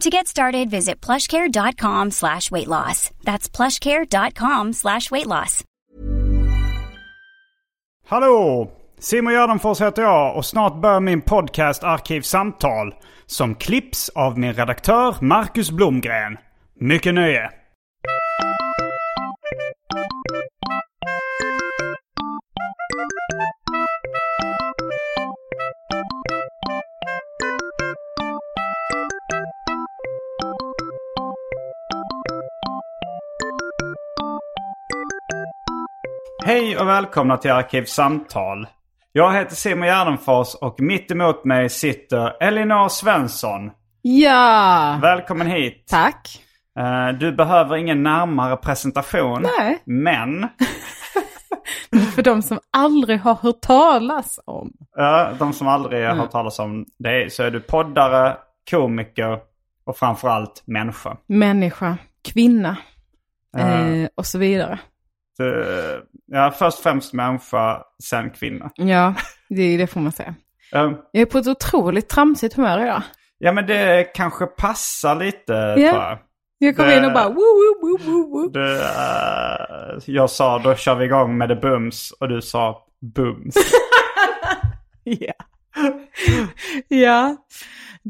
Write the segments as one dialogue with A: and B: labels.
A: To get started, visit plushcare.com slash weight loss. That's plushcare.com slash weight loss.
B: Hallå! Simon Gärdenfors heter jag och snart börjar min podcast Arkivsamtal som klipps av min redaktör Marcus Blomgren. Mycket nöje! Hej och välkomna till Arkivsamtal. Jag heter Simon Gärdenfors och mitt emot mig sitter Elinor Svensson.
C: Ja,
B: Välkommen hit.
C: tack.
B: Eh, Du behöver ingen närmare presentation.
C: Nej.
B: Men
C: För de som aldrig har hört talas om.
B: Ja, de som aldrig har
C: Mm.
B: hört talas om dig så är du poddare, komiker och framförallt människa.
C: Människa, kvinna eh, och så vidare.
B: Du- Ja, först och främst människa, sen kvinna.
C: Ja, det, det får man säga.
B: Eh,
C: Jag är på ett otroligt tramsigt humör idag.
B: Ja, men det kanske passar lite
C: Ja.
B: tror jag.
C: Jag kom
B: Det-
C: in och bara woo, woo, woo, woo, woo.
B: Du, eh, jag sa då kör vi igång med det bums och du sa bums.
C: Ja. ja.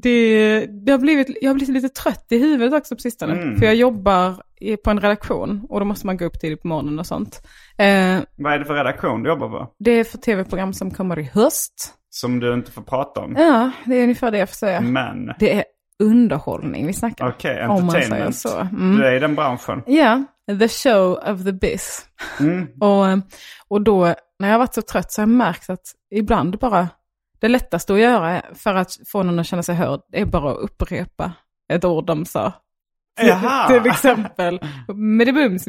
C: Det, det har blivit, jag har blivit lite trött i huvudet också på sistone. För jag jobbar i- på en redaktion och då måste man gå upp tidigt på morgonen och sånt. Eh,
B: Vad är det för redaktion du jobbar på?
C: det är för tv-program som kommer i höst.
B: Som du inte får prata om.
C: Ja, det är ungefär det jag får säga.
B: Men,
C: Eh, Det är underhållning vi snackar
B: okej,
C: om man
B: entertainment.
C: säger så. Mm.
B: Du är i den branschen.
C: Ja, the show of the biz.
B: Mm.
C: Och, eh, och då, när jag har varit så trött så har jag märkt att ibland bara, det lättaste att göra för att få någon att känna sig hörd, det är bara att upprepa ett ord de sa.
B: Jaha.
C: Till exempel, med det booms,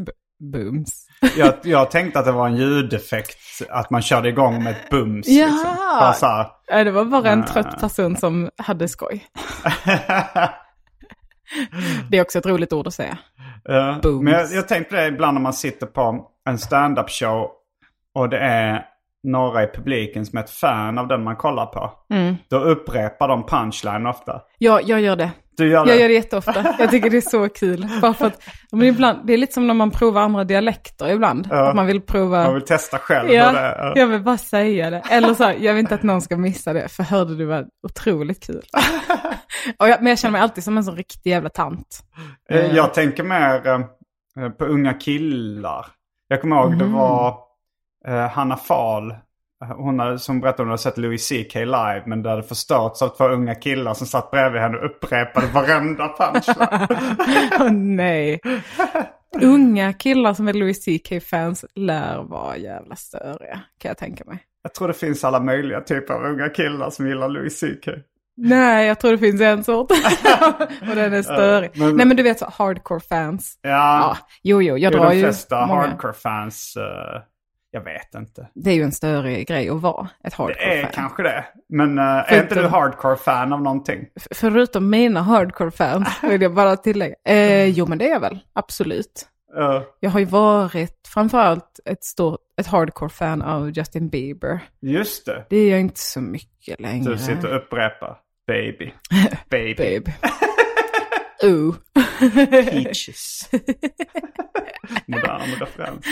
C: booms.
B: jag, jag tänkte att det var en ljudeffekt, att man körde igång med ett bums.
C: Ja.
B: Liksom. Bara så här.
C: Ja, Det var bara en
B: Ah.
C: trött person som hade skoj. Det är också ett roligt ord att säga.
B: Ja,
C: Bums.
B: Eh, Men jag, jag tänkte det ibland när man sitter på en stand-up show och det är några i publiken som är ett fan av den man kollar på.
C: Mm.
B: Då upprepar de punchline ofta.
C: Ja, jag gör det.
B: Du gör det?
C: Jag gör det jätteofta. Jag tycker det är så kul. Bara för att, men ibland, det är lite som när man provar andra dialekter ibland. Att man vill prova.
B: Man vill testa själv. hur det
C: ja,
B: är.
C: jag vill bara säga det. Eller så, här, jag vill inte att någon ska missa det. För hörde du var otroligt kul. Och jag, men jag känner mig alltid som en sån riktig jävla tant.
B: Eh, Jag tänker mer eh, på unga killar. Jag kommer ihåg
C: Mm.
B: det var eh, Hanna Fahl. eh, Hon hade, som berättade om hon hade sett Louis CK live men det hade förstörts av två unga killar som satt bredvid henne och upprepade varenda punchline.
C: Åh nej. Unga killar som är Louis CK-fans lär vara jävla störiga, kan jag tänka mig.
B: jag tror det finns alla möjliga typer av unga killar som gillar Louis CK.
C: Nej, jag tror det finns en sort. och den är störig.
B: Ja, men-
C: Nej, men du vet så hardcore fans.
B: Ja,
C: Ja, jo, jo, jag
B: det
C: drar
B: är de
C: ju
B: flesta
C: många.
B: hardcore-fans. eh, jag vet inte.
C: Det är ju en större grej att vara ett
B: Det är
C: hardcore-fan.
B: kanske det. Men eh, är
C: Förutom-
B: inte du hardcore-fan av någonting?
C: F- Förutom mina hardcore-fans, vill jag bara tillägga. Eh, jo, men det är jag väl, absolut.
B: Eh,
C: Jag har ju varit framförallt ett, stort, ett hardcore-fan av Justin Bieber.
B: just det.
C: Det är jag inte så mycket längre.
B: Du sitter och upprepar. Baby. Baby.
C: Babe. Ooh.
B: Peaches. Modern med referens.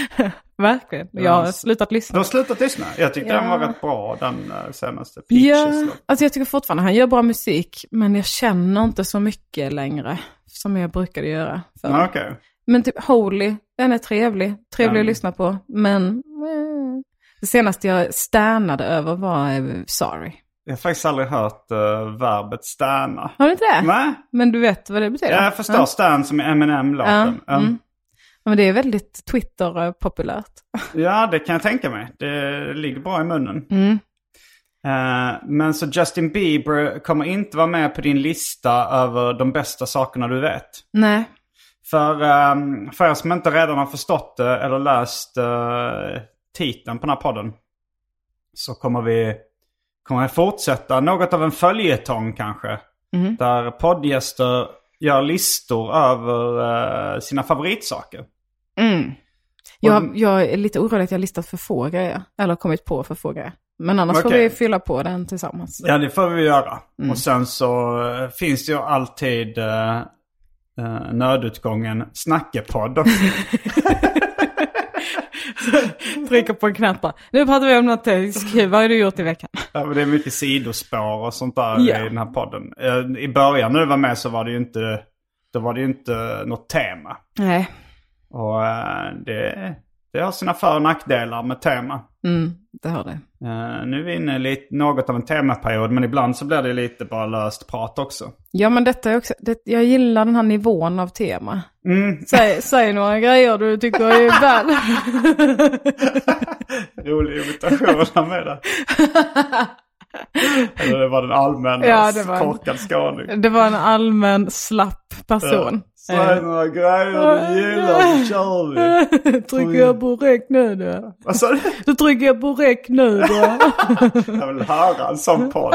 C: Verkligen. Jag har
B: Yes.
C: slutat
B: Du
C: lyssna.
B: har slutat lyssna. Jag tyckte
C: Ja.
B: den var rätt bra den eh, senaste. Peaches.
C: Ja,
B: då.
C: alltså jag tycker fortfarande han gör bra musik, men jag känner inte så mycket längre som jag brukade göra förr.
B: Ja. Okej.
C: Men typ Holy, den är trevlig. Trevlig
B: Mm.
C: att lyssna på, men... eh. Det senaste jag stannade över var eh, Sorry.
B: Jag har faktiskt aldrig hört eh, verbet stanna.
C: Har du inte det?
B: Nej,
C: Men du vet vad det betyder?
B: jag förstår stan som är Eminem-låten.
C: Ja, mm. Ja, men det är väldigt eh, Twitter-populärt.
B: Ja, det kan jag tänka mig. Det ligger bra i munnen. Eh, men så Justin Bieber kommer inte vara med på din lista över de bästa sakerna du vet.
C: Nej.
B: För, um, för er som inte redan har förstått det eller läst eh, titeln på den här podden så kommer vi kommer vi fortsätta något av en följetong kanske. Där poddgäster gör listor över eh, sina favoritsaker.
C: Mm. Jag, jag är lite orolig att jag listat för få grejer. Eller kommit på för få grejer. Men annars får
B: Okej.
C: vi fylla på den tillsammans.
B: Ja, det får vi göra. Och sen så eh, finns det ju alltid eh, eh, nödutgången Snackepodd också.
C: Trycker på en knapp bara. Nu pratar vi om något. eh, Skriv, vad har du gjort i veckan?
B: Ja, men det är mycket sidospår och sånt där
C: Ja.
B: i den här podden. Eh, I början när du var med så var det ju inte, då var det ju inte något tema.
C: Nej.
B: Och eh, det, det har sina för och nackdelar med tema.
C: Mm, det har det.
B: Eh, Nu är vi inne i lite, något av en temaperiod men ibland så blir det lite bara löst prat också.
C: Ja men detta är också, det, jag gillar den här nivån av tema.
B: Mm,
C: Säg, säg några grejer du tycker är väl.
B: rolig imitation med det. Eller det var den allmänna
C: Ja, det var en-
B: korkad skåning.
C: Det var en allmän slapp person.
B: Säg några grejer du gillar så kör vi.
C: Eh. trycker jag på räck nu då?
B: Vad sa du?
C: Då trycker jag på räck nu då.
B: Jag vill höra en sån podd.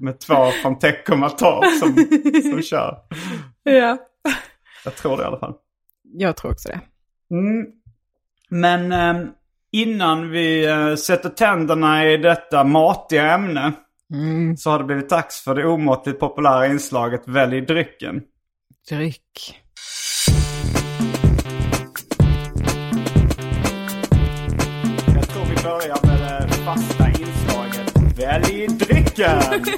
B: Med två från Teckomatorp som, som kör.
C: ja.
B: Jag tror det i alla fall.
C: Jag tror också det.
B: Mm. Men eh, innan vi eh, sätter tänderna i detta matiga ämne så har det blivit dags för det omåttligt populära inslaget Välj drycken.
C: Dryck.
B: Jag tror vi börjar med det fasta inslaget Välj drycken!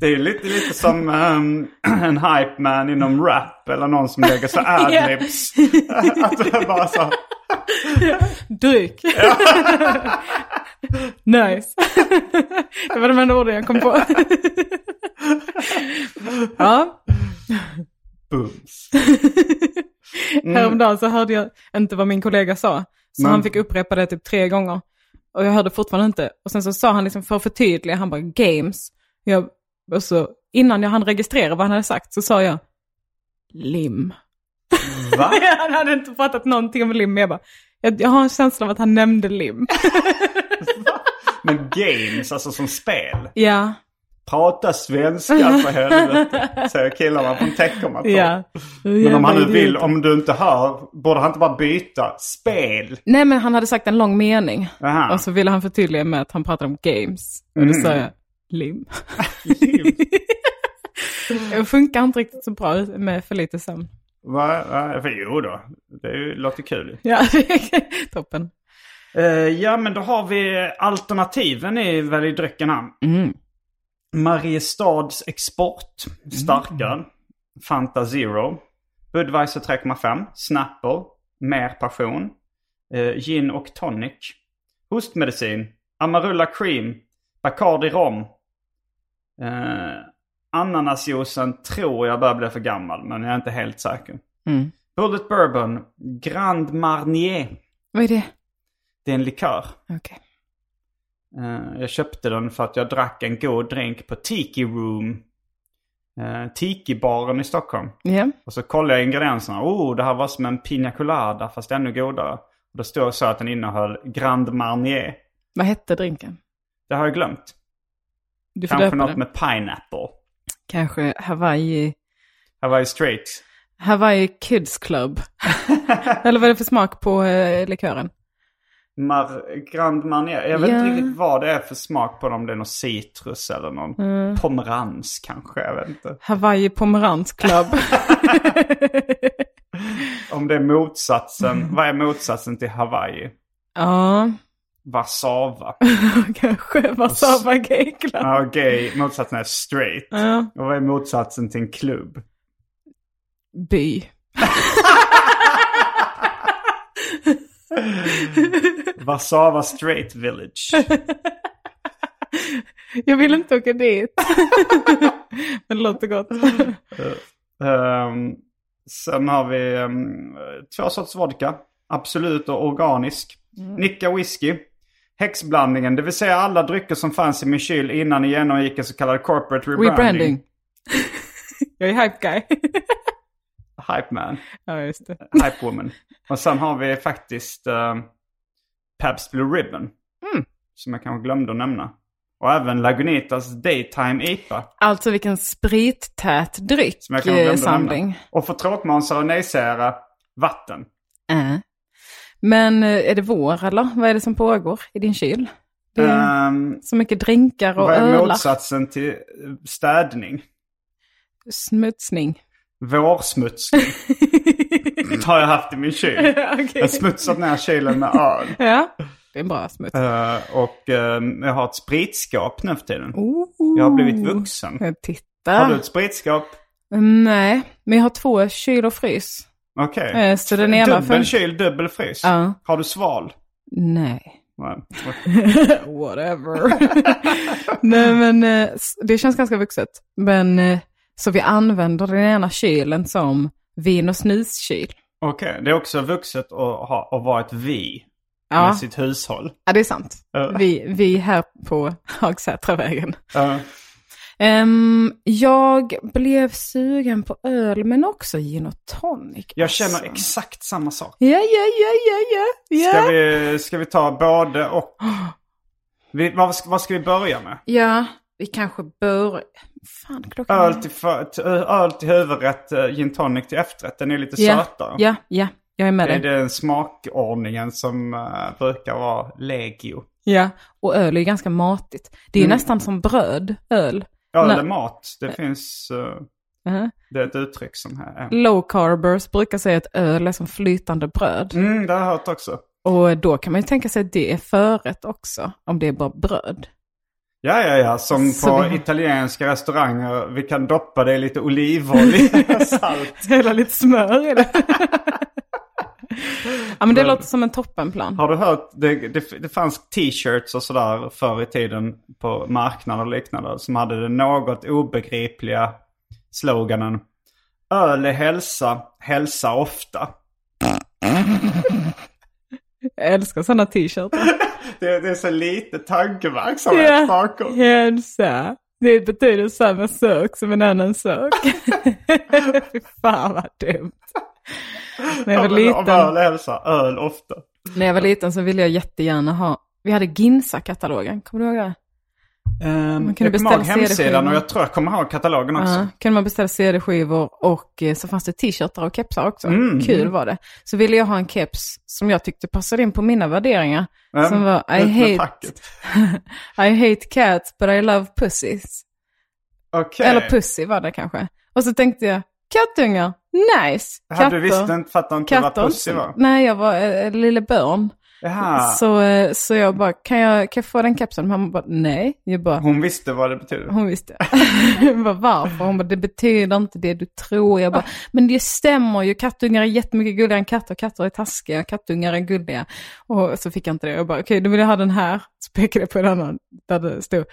B: Det är ju lite, lite som ehm, en hype man inom rap eller någon som lägger så adlibs. Att det bara så.
C: Dryck. nice. det var de enda orden jag kom på. ja,
B: Booms.
C: häromdagen så hörde jag inte vad min kollega sa. Så
B: Mm. Men-
C: han fick upprepa det typ tre gånger. Och jag hörde fortfarande inte. Och sen så sa han liksom för att förtydliga, han bara games. Jag, och så innan jag hann registrera vad han hade sagt så sa jag lim.
B: Va?
C: Han hade inte pratat någonting om lim, men jag bara, jag, jag har en känsla av att han nämnde lim.
B: Men games, alltså som spel.
C: ja,
B: Prata svenska för helvete. Säger killarna från Teckomatorp.
C: ja.
B: Men om han nu vill, om du inte hör, borde han inte bara byta spel?
C: Nej men han hade sagt en lång mening.
B: Aha.
C: Och så ville han förtydliga med att han pratade om games. Och
B: Mm.
C: då sa jag lim. Det funkar inte riktigt så bra med för lite sömn.
B: Va? Va? För jo då, det är ju- låter kul.
C: Ja, toppen.
B: Eh, ja men då har vi alternativen i väl i drycken här. Mariestads Export, starköl, Fanta Zero, Budweiser 3,5, Snapple, Mer Passion, eh, Gin och Tonic, Hostmedicin, Amarula Cream, Bacardi Rom, eh, Ananasjuicen tror jag börjar bli för gammal men jag är inte helt säker. Bullet Bourbon, Grand Marnier,
C: Vad är det?
B: det är en likör.
C: Okej.
B: Eh, Jag köpte den för att jag drack en god drink på Tiki Room. eh, Tiki-baren i Stockholm.
C: Ja.
B: Och så kollade jag ingredienserna. Oh, det här var som en pina colada fast ännu godare. Och då stod det så att den innehöll Grand Marnier.
C: Vad hette drinken?
B: Det har jag glömt.
C: Du får
B: Kanske
C: döpa
B: något
C: den.
B: med pineapple.
C: Kanske Hawaii...
B: Här var ju straight.
C: Hawaii Kids Club. Eller vad är det för smak på eh, likören?
B: Mar- Grand Marnier. Jag vet
C: Ja.
B: inte riktigt vad det är för smak på dem. Om det är någon citrus eller någon
C: Mm.
B: pomerans kanske. Jag vet inte.
C: Hawaii Pomerans Club.
B: Om det är motsatsen. Vad är motsatsen till Hawaii?
C: ja,
B: Warszawa.
C: kanske Warszawa Gay Club.
B: Ja, gay. Motsatsen är straight. Och vad är motsatsen till en klubb?
C: by.
B: Warszawa Straight Village.
C: Jag vill inte åka dit. Men det låter gott.
B: Mm. Ehm, sen har vi ehm, två sorters vodka. Absolut och organisk. Nicka whisky. Häxblandningen, det vill säga alla drycker som fanns i min kyl innan jag genomgick en så kallad corporate rebranding.
C: Rebranding. Jag är hype guy.
B: Hype man.
C: Ja, just det.
B: Hype woman. Och sen har vi faktiskt eh, Pabst Blue Ribbon. Som jag kanske glömde att nämna. Och även Lagunitas Daytime IPA.
C: Alltså vilken sprittät dryck
B: Som jag kanske glömde
C: eh,
B: att
C: samling.
B: nämna. Och för tråkmånsar och nejsägare, vatten.
C: Äh. Men eh, är det vår eller? Vad är det som pågår i din kyl? Det är
B: Ehm,
C: så mycket drinkar och
B: vad är
C: ölar.
B: motsatsen till eh, städning?
C: Smutsning.
B: Vårsmutsning har jag haft i min kyl. Jag har
C: Okej.
B: smutsat ner kylen med öl.
C: Ja, det är en bra smuts.
B: Eh, och ehm, jag har ett spritskåp nu för tiden.
C: Oh.
B: Jag har blivit vuxen.
C: Titta.
B: Har du ett spritskåp?
C: Nej, men jag har två kyl och frys.
B: Okej.
C: Eh, Så den ena...
B: dubbel kyl, dubbel frys.
C: Ja.
B: Har du sval?
C: Nej.
B: Nej.
C: Whatever. Nej men eh, s- det känns ganska vuxet. Men eh, så vi använder den ena kylen som vin och snuskyl.
B: Okej, det är också vuxet att, ha, att vara ett vi
C: Ja,
B: med sitt hushåll.
C: ja, det är sant.
B: Ja.
C: Vi, vi här på Hagsätravägen.
B: Eh,
C: Ehm, jag blev sugen på öl men också gin och tonic.
B: jag känner
C: alltså.
B: exakt samma sak.
C: Ja, ja, ja, ja, ja.
B: Ska,
C: ja.
B: vi, ska vi ta både och? Vi, vad, ska, vad ska vi börja med?
C: Ja, vi kanske bör... Fan, klockan är-
B: Öl till, för, till, öl till huvudrätt, eh, gin tonic till efterrätt. Den är lite
C: ja,
B: sötare.
C: ja, ja, jag är med
B: Det är
C: dig.
B: den smakordningen som eh, brukar vara legio.
C: Ja, och öl är ju ganska matigt. Det är ju nästan som bröd, öl.
B: Öl
C: Nej.
B: är mat. Mm. Det finns... eh,
C: Mhm.
B: det är ett uttryck som här är.
C: Low carbers brukar säga att öl är som flytande bröd.
B: Mm, det har jag hört också.
C: Och då kan man ju tänka sig att det är förrätt också, om det är bara bröd.
B: Ja, ja, ja. Som
C: Så
B: på
C: vi har-
B: italienska restauranger. Vi kan doppa det i lite olivolja och salt.
C: Hälla lite smör i det. ja, men det låter som en toppenplan.
B: Har du hört? Det, det, det fanns t-shirts och sådär förr i tiden på marknader och liknande. Som hade den något obegripliga sloganen. Öl är hälsa, hälsa ofta.
C: Jag älskar sådana t-shirtar.
B: Det, det är så lite tankeverksamhet
C: Ja.
B: bakom.
C: Hälsa. Det betyder samma sak som en annan sak. Fy fan vad dumt. När jag var
B: Om
C: liten.
B: öl är hälsa, öl ofta.
C: När jag var liten så ville jag jättegärna ha, vi hade Ginsa-katalogen, kommer du ihåg det?
B: Um,
C: kunde
B: jag kommer ihåg
C: beställa CD-skivor.
B: hemsidan och jag tror jag kommer ihåg katalogen också.
C: Ja, kunde man beställa CD-skivor och eh, så fanns det t-shirtar och kepsar också.
B: Mm,
C: Kul var det. Så ville jag ha en keps som jag tyckte passade in på mina värderingar.
B: Mm,
C: Som var I
B: ut med
C: hate,
B: facket.
C: I hate cats but I love pussies.
B: Okej.
C: Eller pussy var det kanske. Och så tänkte jag, kattungar, nice.
B: Hade du visst inte fattat inte vad pussy Ah. var?
C: Nej, jag var äh, lille börn.
B: Jaha.
C: Så, eh, så jag bara, kan jag, kan jag få den kepsen? Mamma bara, nej. Jag bara,
B: Hon visste vad det betydde.
C: Hon visste. Hon bara, varför? Hon bara, det betyder inte det du tror. Jag bara, men det stämmer ju. Kattungar är jättemycket gulligare än katter. Katter är taskiga. Kattungar är gulliga. Och så fick jag inte det. Jag bara, okej, då vill jag ha den här. Så pekade jag på en annan. Där det stod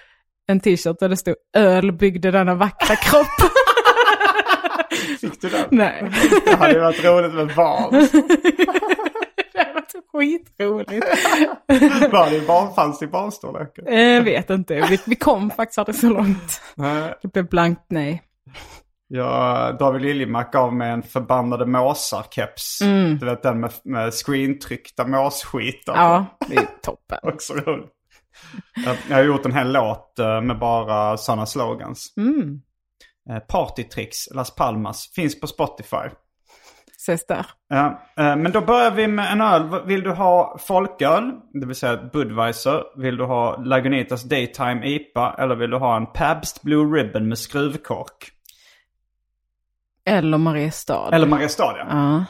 C: en t-shirt där det stod öl byggde denna vackra kropp.
B: Fick du den?
C: Nej.
B: Det hade ju varit roligt med barn.
C: det hade varit skitroligt.
B: Var det barn fanns i barnstorleken?
C: Jag vet inte. Vi, vi kom faktiskt aldrig så långt.
B: Nej.
C: Det blev blankt nej.
B: Ja, David Liljemark gav mig en förbannade måsar-keps.
C: Mm.
B: Du vet den med, med screentryckta måsskitar.
C: Ja, det är toppen.
B: Också roligt. Jag- Jag har gjort en hel låt eh, med bara sådana slogans.
C: Mm,
B: Eh, Partytricks, Las Palmas, finns på Spotify.
C: ses där.
B: Ja, eh, men då börjar vi med en öl. V- Vill du ha folköl, det vill säga Budweiser? Vill du ha Lagunitas Daytime IPA? Eller vill du ha en Pabst Blue Ribbon med skruvkork?
C: Eller Mariestad.
B: Eller Mariestad, ja.
C: Ja.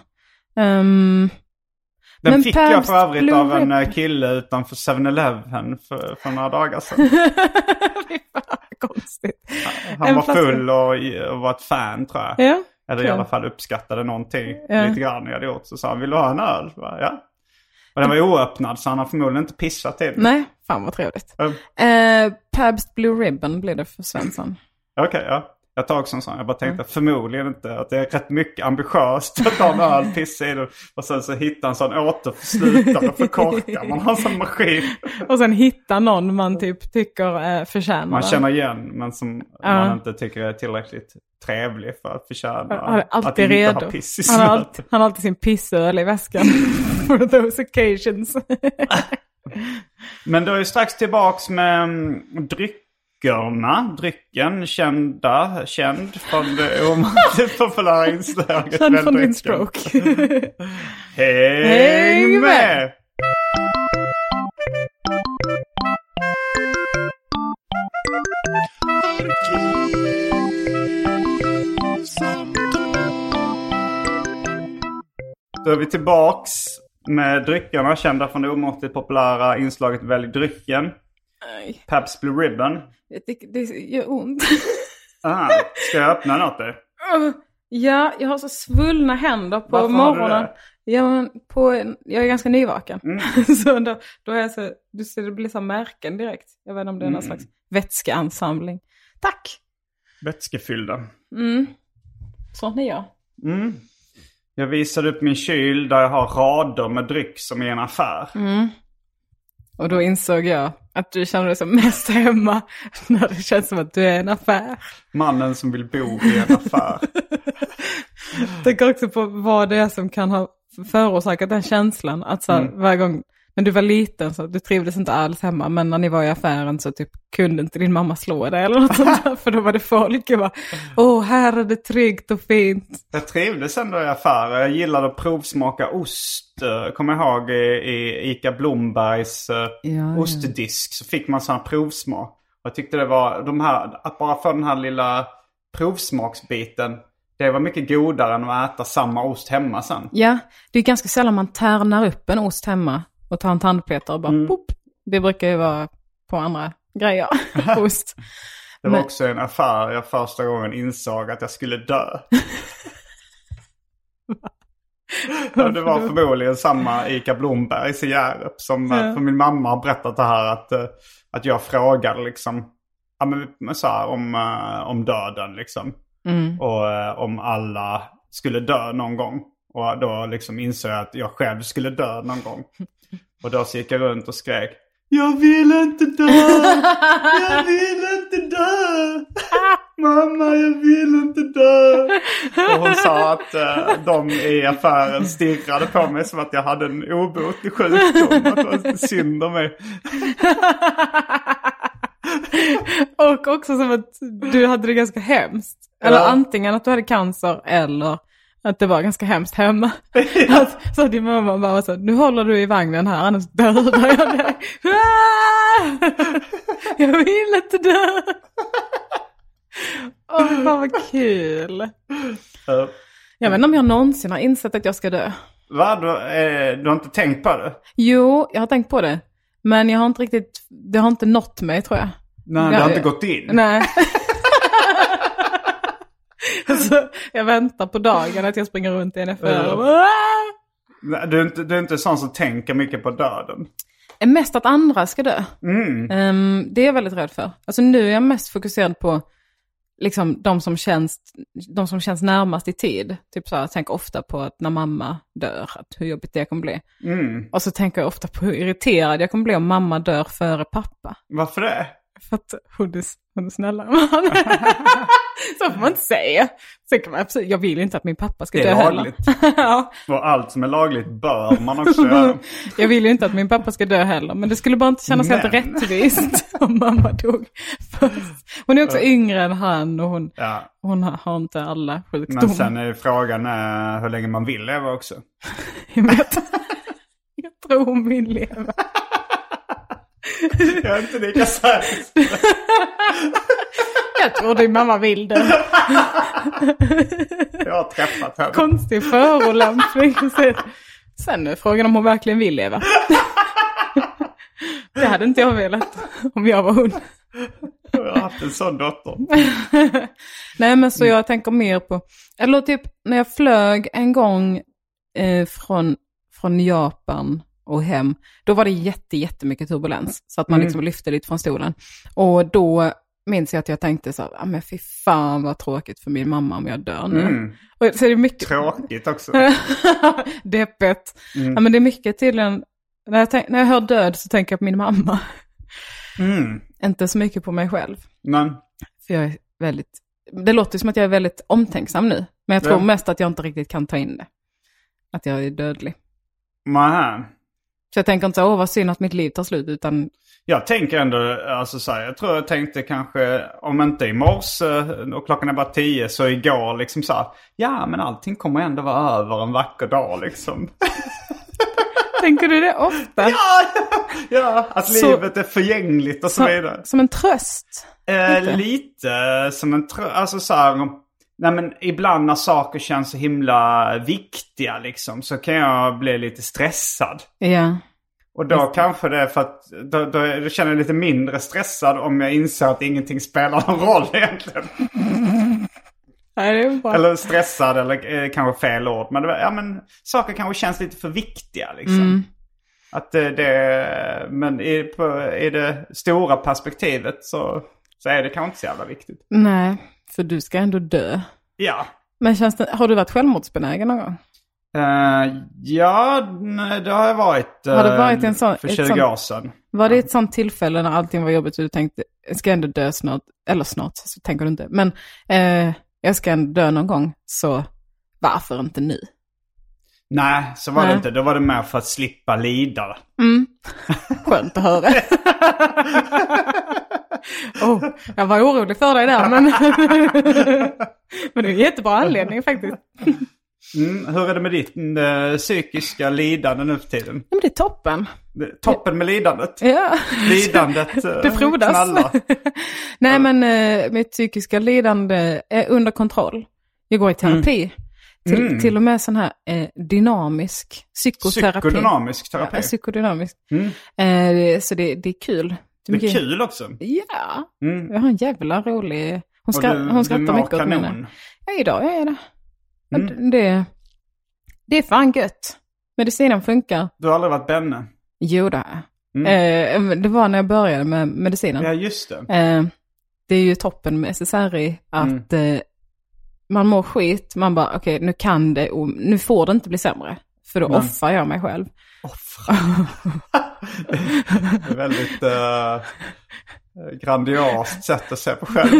C: Ehm,
B: Den
C: Men
B: fick jag
C: Pabst
B: för övrigt
C: Blue
B: av en eh,
C: Ribbon.
B: kille utanför 7-Eleven för, för några dagar sedan.
C: Fy fan vad konstigt.
B: Han
C: En
B: var
C: flaska.
B: full och, och var ett fan, tror jag.
C: Ja.
B: Eller i
C: Kul.
B: alla fall uppskattade någonting
C: Ja.
B: lite grann jag hade gjort. Så sa han, vill du ha en öl? Jag bara, ja. Och den var ju oöppnad så han har förmodligen inte pissat i den.
C: Nej, fan vad trevligt.
B: Ja.
C: Eh, Pabst Blue Ribbon blev det för Svensson.
B: Okej, ja. Jag tar också en sån. Jag bara
C: Mm.
B: tänkte förmodligen inte att det är rätt mycket ambitiöst att ta en öl, pissa i den och sen så hitta en sån återförslutare för korkar. Man har en sån maskin
C: Och sen hitta någon man typ tycker eh, förtjänar
B: man
C: det.
B: känner igen men som
C: Ja.
B: man inte tycker är tillräckligt trevlig för att förtjäna
C: Han är
B: att
C: alltid
B: inte
C: redo.
B: ha piss i
C: han, har
B: snön.
C: alltid, han har alltid sin pissöl i väskan. For those occasions.
B: Men då är vi strax tillbaks med mm, dryckerna. Drycken, kända, känd från det omåttligt populära inslaget.
C: Känd från
B: Väldrycken.
C: din stroke.
B: Häng med! Då är vi tillbaks med dryckerna kända från det omåttligt populära inslaget Välj drycken.
C: Nej,
B: Pabst Blue Ribbon.
C: jag tycker det gör ont.
B: Ah, ska jag öppna något? där?
C: ja, jag har så svullna händer på
B: Varför har du
C: morgonen.
B: det?
C: Ja, men på, en- jag är ganska nyvaken. så då, då är jag så, du ser det blir så här märken direkt. Jag vet inte om det är någon slags vätskeansamling. Tack!
B: Vätskefyllda.
C: Mm. Sån är jag.
B: Mm. Jag visade upp min kyl där jag har rader med dryck som i en affär.
C: Och då insåg jag att du känner dig som mest hemma när det känns som att du är en affär.
B: Mannen som vill bo i en affär.
C: Tänker också på vad det är som kan ha förorsakat den känslan. Att så här, varje gång, men du var liten så du trivdes inte alls hemma, men när ni var i affären så typ kunde inte din mamma slå dig eller något sånt där, för då var det folk. Jag bara, åh här är det tryggt och fint.
B: Jag trivdes ändå i affärer. Jag gillade att provsmaka ost. Eh, Kommer jag ihåg i, i Ica Blombergs eh,
C: ja.
B: ostdisk så fick man sådana provsmak. Jag tyckte det var de här, att bara få den här lilla provsmaksbiten. Det var mycket godare än att äta samma ost hemma sen.
C: Ja, det är ganska sällan man tärnar upp en ost hemma och tar en tandpetare och bara pop. Det brukar ju vara på andra grejer, ost.
B: Det var
C: Men-
B: också en affär jag första gången insåg att jag skulle dö. Ja, det var förmodligen samma Ica Blombergs i Hjärup som eh,
C: Ja.
B: för min mamma har berättat det här att, eh, att jag frågade liksom ja, men, men så här, om, eh, om döden liksom.
C: Mm.
B: Och eh, om alla skulle dö någon gång. Och då liksom insåg jag att jag själv skulle dö någon gång. Och då så gick jag runt och skrek Jag vill inte dö! Jag vill inte dö! Mamma, jag vill inte dö! Och hon sa att eh, de i affären stirrade på mig som att jag hade en obotlig sjukdom. Att det var synd om mig.
C: Och också som att du hade det ganska hemskt. Eller
B: Ja.
C: antingen att du hade cancer eller att det var ganska hemskt hemma. Att, så att din mamma bara var så, nu håller du i vagnen här annars dödar jag dig. Ah! jag vill inte dö. Åh, fan vad kul.
B: Eh,
C: Jag vet inte om jag någonsin har insett att jag ska dö.
B: va? Du, eh, du har inte tänkt på det?
C: Jo, jag har tänkt på det. Men jag har inte riktigt, det har inte nått mig tror jag.
B: Nej, det har inte gått in?
C: Nej. alltså, jag väntar på dagen att jag springer runt i en affär och bara, "Ah!"
B: Nej, Du, är inte, du är inte sån som tänker mycket på döden?
C: Mest att andra ska dö. Ehm, det är jag väldigt rädd för. Alltså nu är jag mest fokuserad på liksom, de, som känns, de som känns närmast i tid. Typ så här, jag tänker ofta på att när mamma dör, att hur jobbigt det kommer bli. Och så tänker jag ofta på hur irriterad jag kommer bli om mamma dör före pappa.
B: Varför det?
C: För att hon är, hon är snällare än han. Så får man inte säga. Sen kan man absolut, jag vill ju inte att min pappa ska
B: Det är
C: dö heller.
B: lagligt.
C: ja,
B: Och allt som är lagligt bör man också göra.
C: jag vill ju inte att min pappa ska dö heller. Men det skulle bara inte kännas helt
B: Men.
C: rättvist om mamma dog först. Hon är också yngre än han och hon,
B: Ja.
C: hon har, har inte alla sjukdomar.
B: Men sen är ju frågan eh, hur länge man vill leva också.
C: Jag, vet, jag tror hon vill leva.
B: Jag är inte lika säker.
C: Jag tror din mamma vill dö.
B: Jag har träffat henne.
C: Konstig förolämpning. Sen är frågan om hon verkligen vill leva. Det hade inte jag velat om jag var hon.
B: Jag har haft en sån dotter.
C: Nej men så jag tänker mer på, eller typ när jag flög en gång eh, från, från Japan och hem, då var det jätte, jättemycket turbulens. Så att man
B: Mm.
C: liksom lyfte lite från stolen. Och då minns jag att jag tänkte så här, "Ah, men fy fan vad tråkigt för min mamma om jag dör nu.
B: Mm.
C: Och så är det mycket...
B: Tråkigt också.
C: Deppigt.
B: Mm.
C: Ja men det är mycket tydligen, när jag, tänk, när jag hör död så tänker jag på min mamma.
B: Mm.
C: Inte så mycket på mig själv.
B: Men,
C: För jag är väldigt, det låter som att jag är väldigt omtänksam nu. Men jag tror
B: Ja.
C: mest att jag inte riktigt kan ta in det. Att jag är dödlig.
B: man,
C: Så jag tänker inte så, åh vad synd att mitt liv tar slut, utan
B: jag tänker ändå, alltså så här, jag tror jag tänkte kanske, om inte i morse och klockan är bara tio, så igår liksom så här, ja men allting kommer ändå vara över en vacker dag liksom.
C: tänker du det ofta?
B: Ja, att
C: Så-
B: livet är förgängligt och så vidare.
C: som, som en tröst?
B: Eh, lite som en trö... Alltså så här... Nej men ibland när saker känns så himla viktiga liksom så kan jag bli lite stressad.
C: Ja.
B: Och då kanske det är för att då, då, då känner jag lite mindre stressad om jag inser att ingenting spelar någon roll egentligen.
C: Nej, det är bra.
B: Eller stressad eller eh, kanske fel ord. Men, det, var- ja, men saker kanske känns lite för viktiga liksom. Att det, det, men i, på, i det stora perspektivet så, så är det kanske inte så jävla viktigt.
C: Nej, för du ska ändå dö.
B: Ja.
C: Men känns det, har du varit självmordsbenägen någon gång?
B: Eh, ja, nej, det har jag varit, eh,
C: Har det varit en sån-
B: för
C: ett
B: 20
C: sånt-
B: år sedan.
C: Var det ett sånt tillfälle när allting var jobbigt och du tänkte, jag ska ändå dö snart, eller snart, så tänker du inte, men eh, jag ska ändå dö någon gång, så varför inte nu?
B: Nej, så var det
C: Nej.
B: inte. Då var det mer för att slippa lida.
C: Skönt att höra. oh, jag var orolig för dig där, men, men det är en jättebra anledning faktiskt.
B: Mm, hur är det med ditt eh, psykiska lidande nu för tiden?
C: Ja, men det är toppen.
B: Det- Toppen med lidandet.
C: Ja.
B: Lidandet eh,
C: Det frodas.
B: knallar.
C: Nej men eh, mitt psykiska lidande är under kontroll. Jag går i terapi. Till,
B: Mm.
C: till och med sån här eh, dynamisk psykoterapi.
B: Psykodynamisk terapi.
C: Ja, psykodynamisk.
B: Mm.
C: Eh, det- så det, det är kul.
B: Det är
C: mycket-
B: kul också.
C: Ja,
B: Mm.
C: jag har en jävla rolig... Hon,
B: Och
C: skra,
B: du-
C: hon
B: du
C: skrattar
B: mår
C: mycket åt mig nu.
B: kanon.
C: Ja, idag är det.
B: Mm.
C: Och det. Det är fan gött. Medicinen funkar.
B: Du har aldrig varit Benne? Mm.
C: Jo, det har jag. eh, Det var när jag började med medicinen.
B: Ja, just det.
C: Eh, det är ju toppen med SSRI att
B: Mm.
C: eh, man mår skit, man bara okej nu kan det, och nu får det inte bli sämre. För då offrar jag mig själv.
B: Det är väldigt eh, grandiost sätt att se på själv.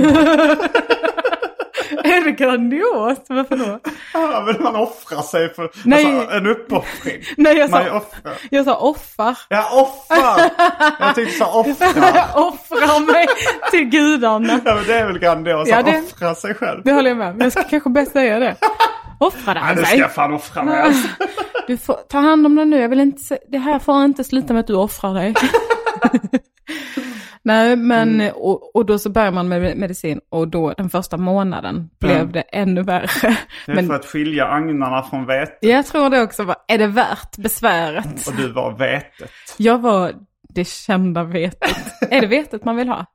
C: är det grandiost? Varför då?
B: Ja, men man offrar sig för
C: Nej.
B: alltså, en uppoffring.
C: Nej, jag
B: Man är
C: sa,
B: offrar.
C: jag sa offar.
B: Ja, offrar! Jag tyckte så offra.
C: Jag offrar mig till gudarna.
B: Ja, men det är väl grandiost
C: Ja,
B: att
C: det-
B: offra sig själv.
C: Det håller jag med om. Jag ska kanske bäst säga det. Offra
B: Nej, nu
C: dig. alltså.
B: ska jag fan offra mig. Alltså.
C: Du får ta hand om det nu. Jag vill inte se, det här får inte sluta med att du offrar dig. Nej, men
B: Mm.
C: och, och då så börjar man med medicin och då den första månaden blev
B: Mm.
C: det ännu värre.
B: Det är för
C: Men
B: att skilja agnarna från vetet.
C: jag tror det också var, är det värt besväret?
B: Och du var Eh, vetet.
C: Jag var det kända vetet. är det vetet man vill ha?
B: Eh,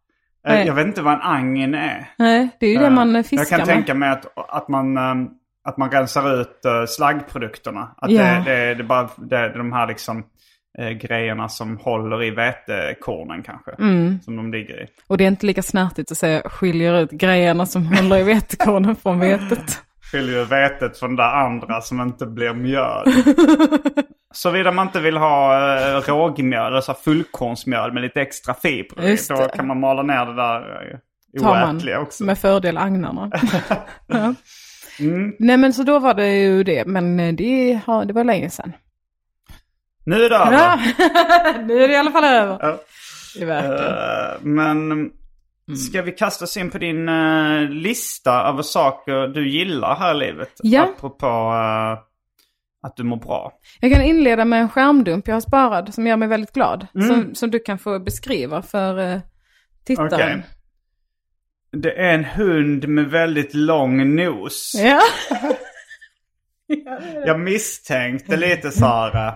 C: Nej.
B: Jag vet inte vad en agn är.
C: Nej, det är ju det man eh,
B: Jag
C: fiskar
B: kan
C: med.
B: tänka mig att, att, man, eh, att man rensar ut eh, slaggprodukterna. Att
C: Ja.
B: det, det, det, är bara, det är de här liksom, eh, grejerna som håller i vetekornen kanske.
C: Mm.
B: Som de ligger i.
C: Och det är inte lika snärtigt att säga skiljer ut grejerna som håller i vetekornen från vetet.
B: Skiljer vetet från det andra som inte blir mjöl. Såvida man inte vill ha eh, rågmjöl, eller så här fullkornsmjöl med lite extra fibrer i.
C: Just
B: Då
C: det.
B: kan man mala ner det där eh,
C: tar man
B: oätliga också. Mm.
C: med fördel agnarna. ja. Nej men så då var det ju det, men eh, det, har, det var länge sedan.
B: Nu då!
C: Ja. nu är det i alla fall över.
B: Ja.
C: Det verkar.
B: Eh, men
C: Mm.
B: ska vi kasta oss in på din eh, lista över saker du gillar här i livet?
C: Ja.
B: Apropå eh, att du mår bra.
C: Jag kan inleda med en skärmdump jag har sparat som gör mig väldigt glad.
B: Mm.
C: Som, som du kan få beskriva för eh, tittaren.
B: Okej. Det är en hund med väldigt lång nos.
C: Ja.
B: Jag misstänkte lite så här. eh,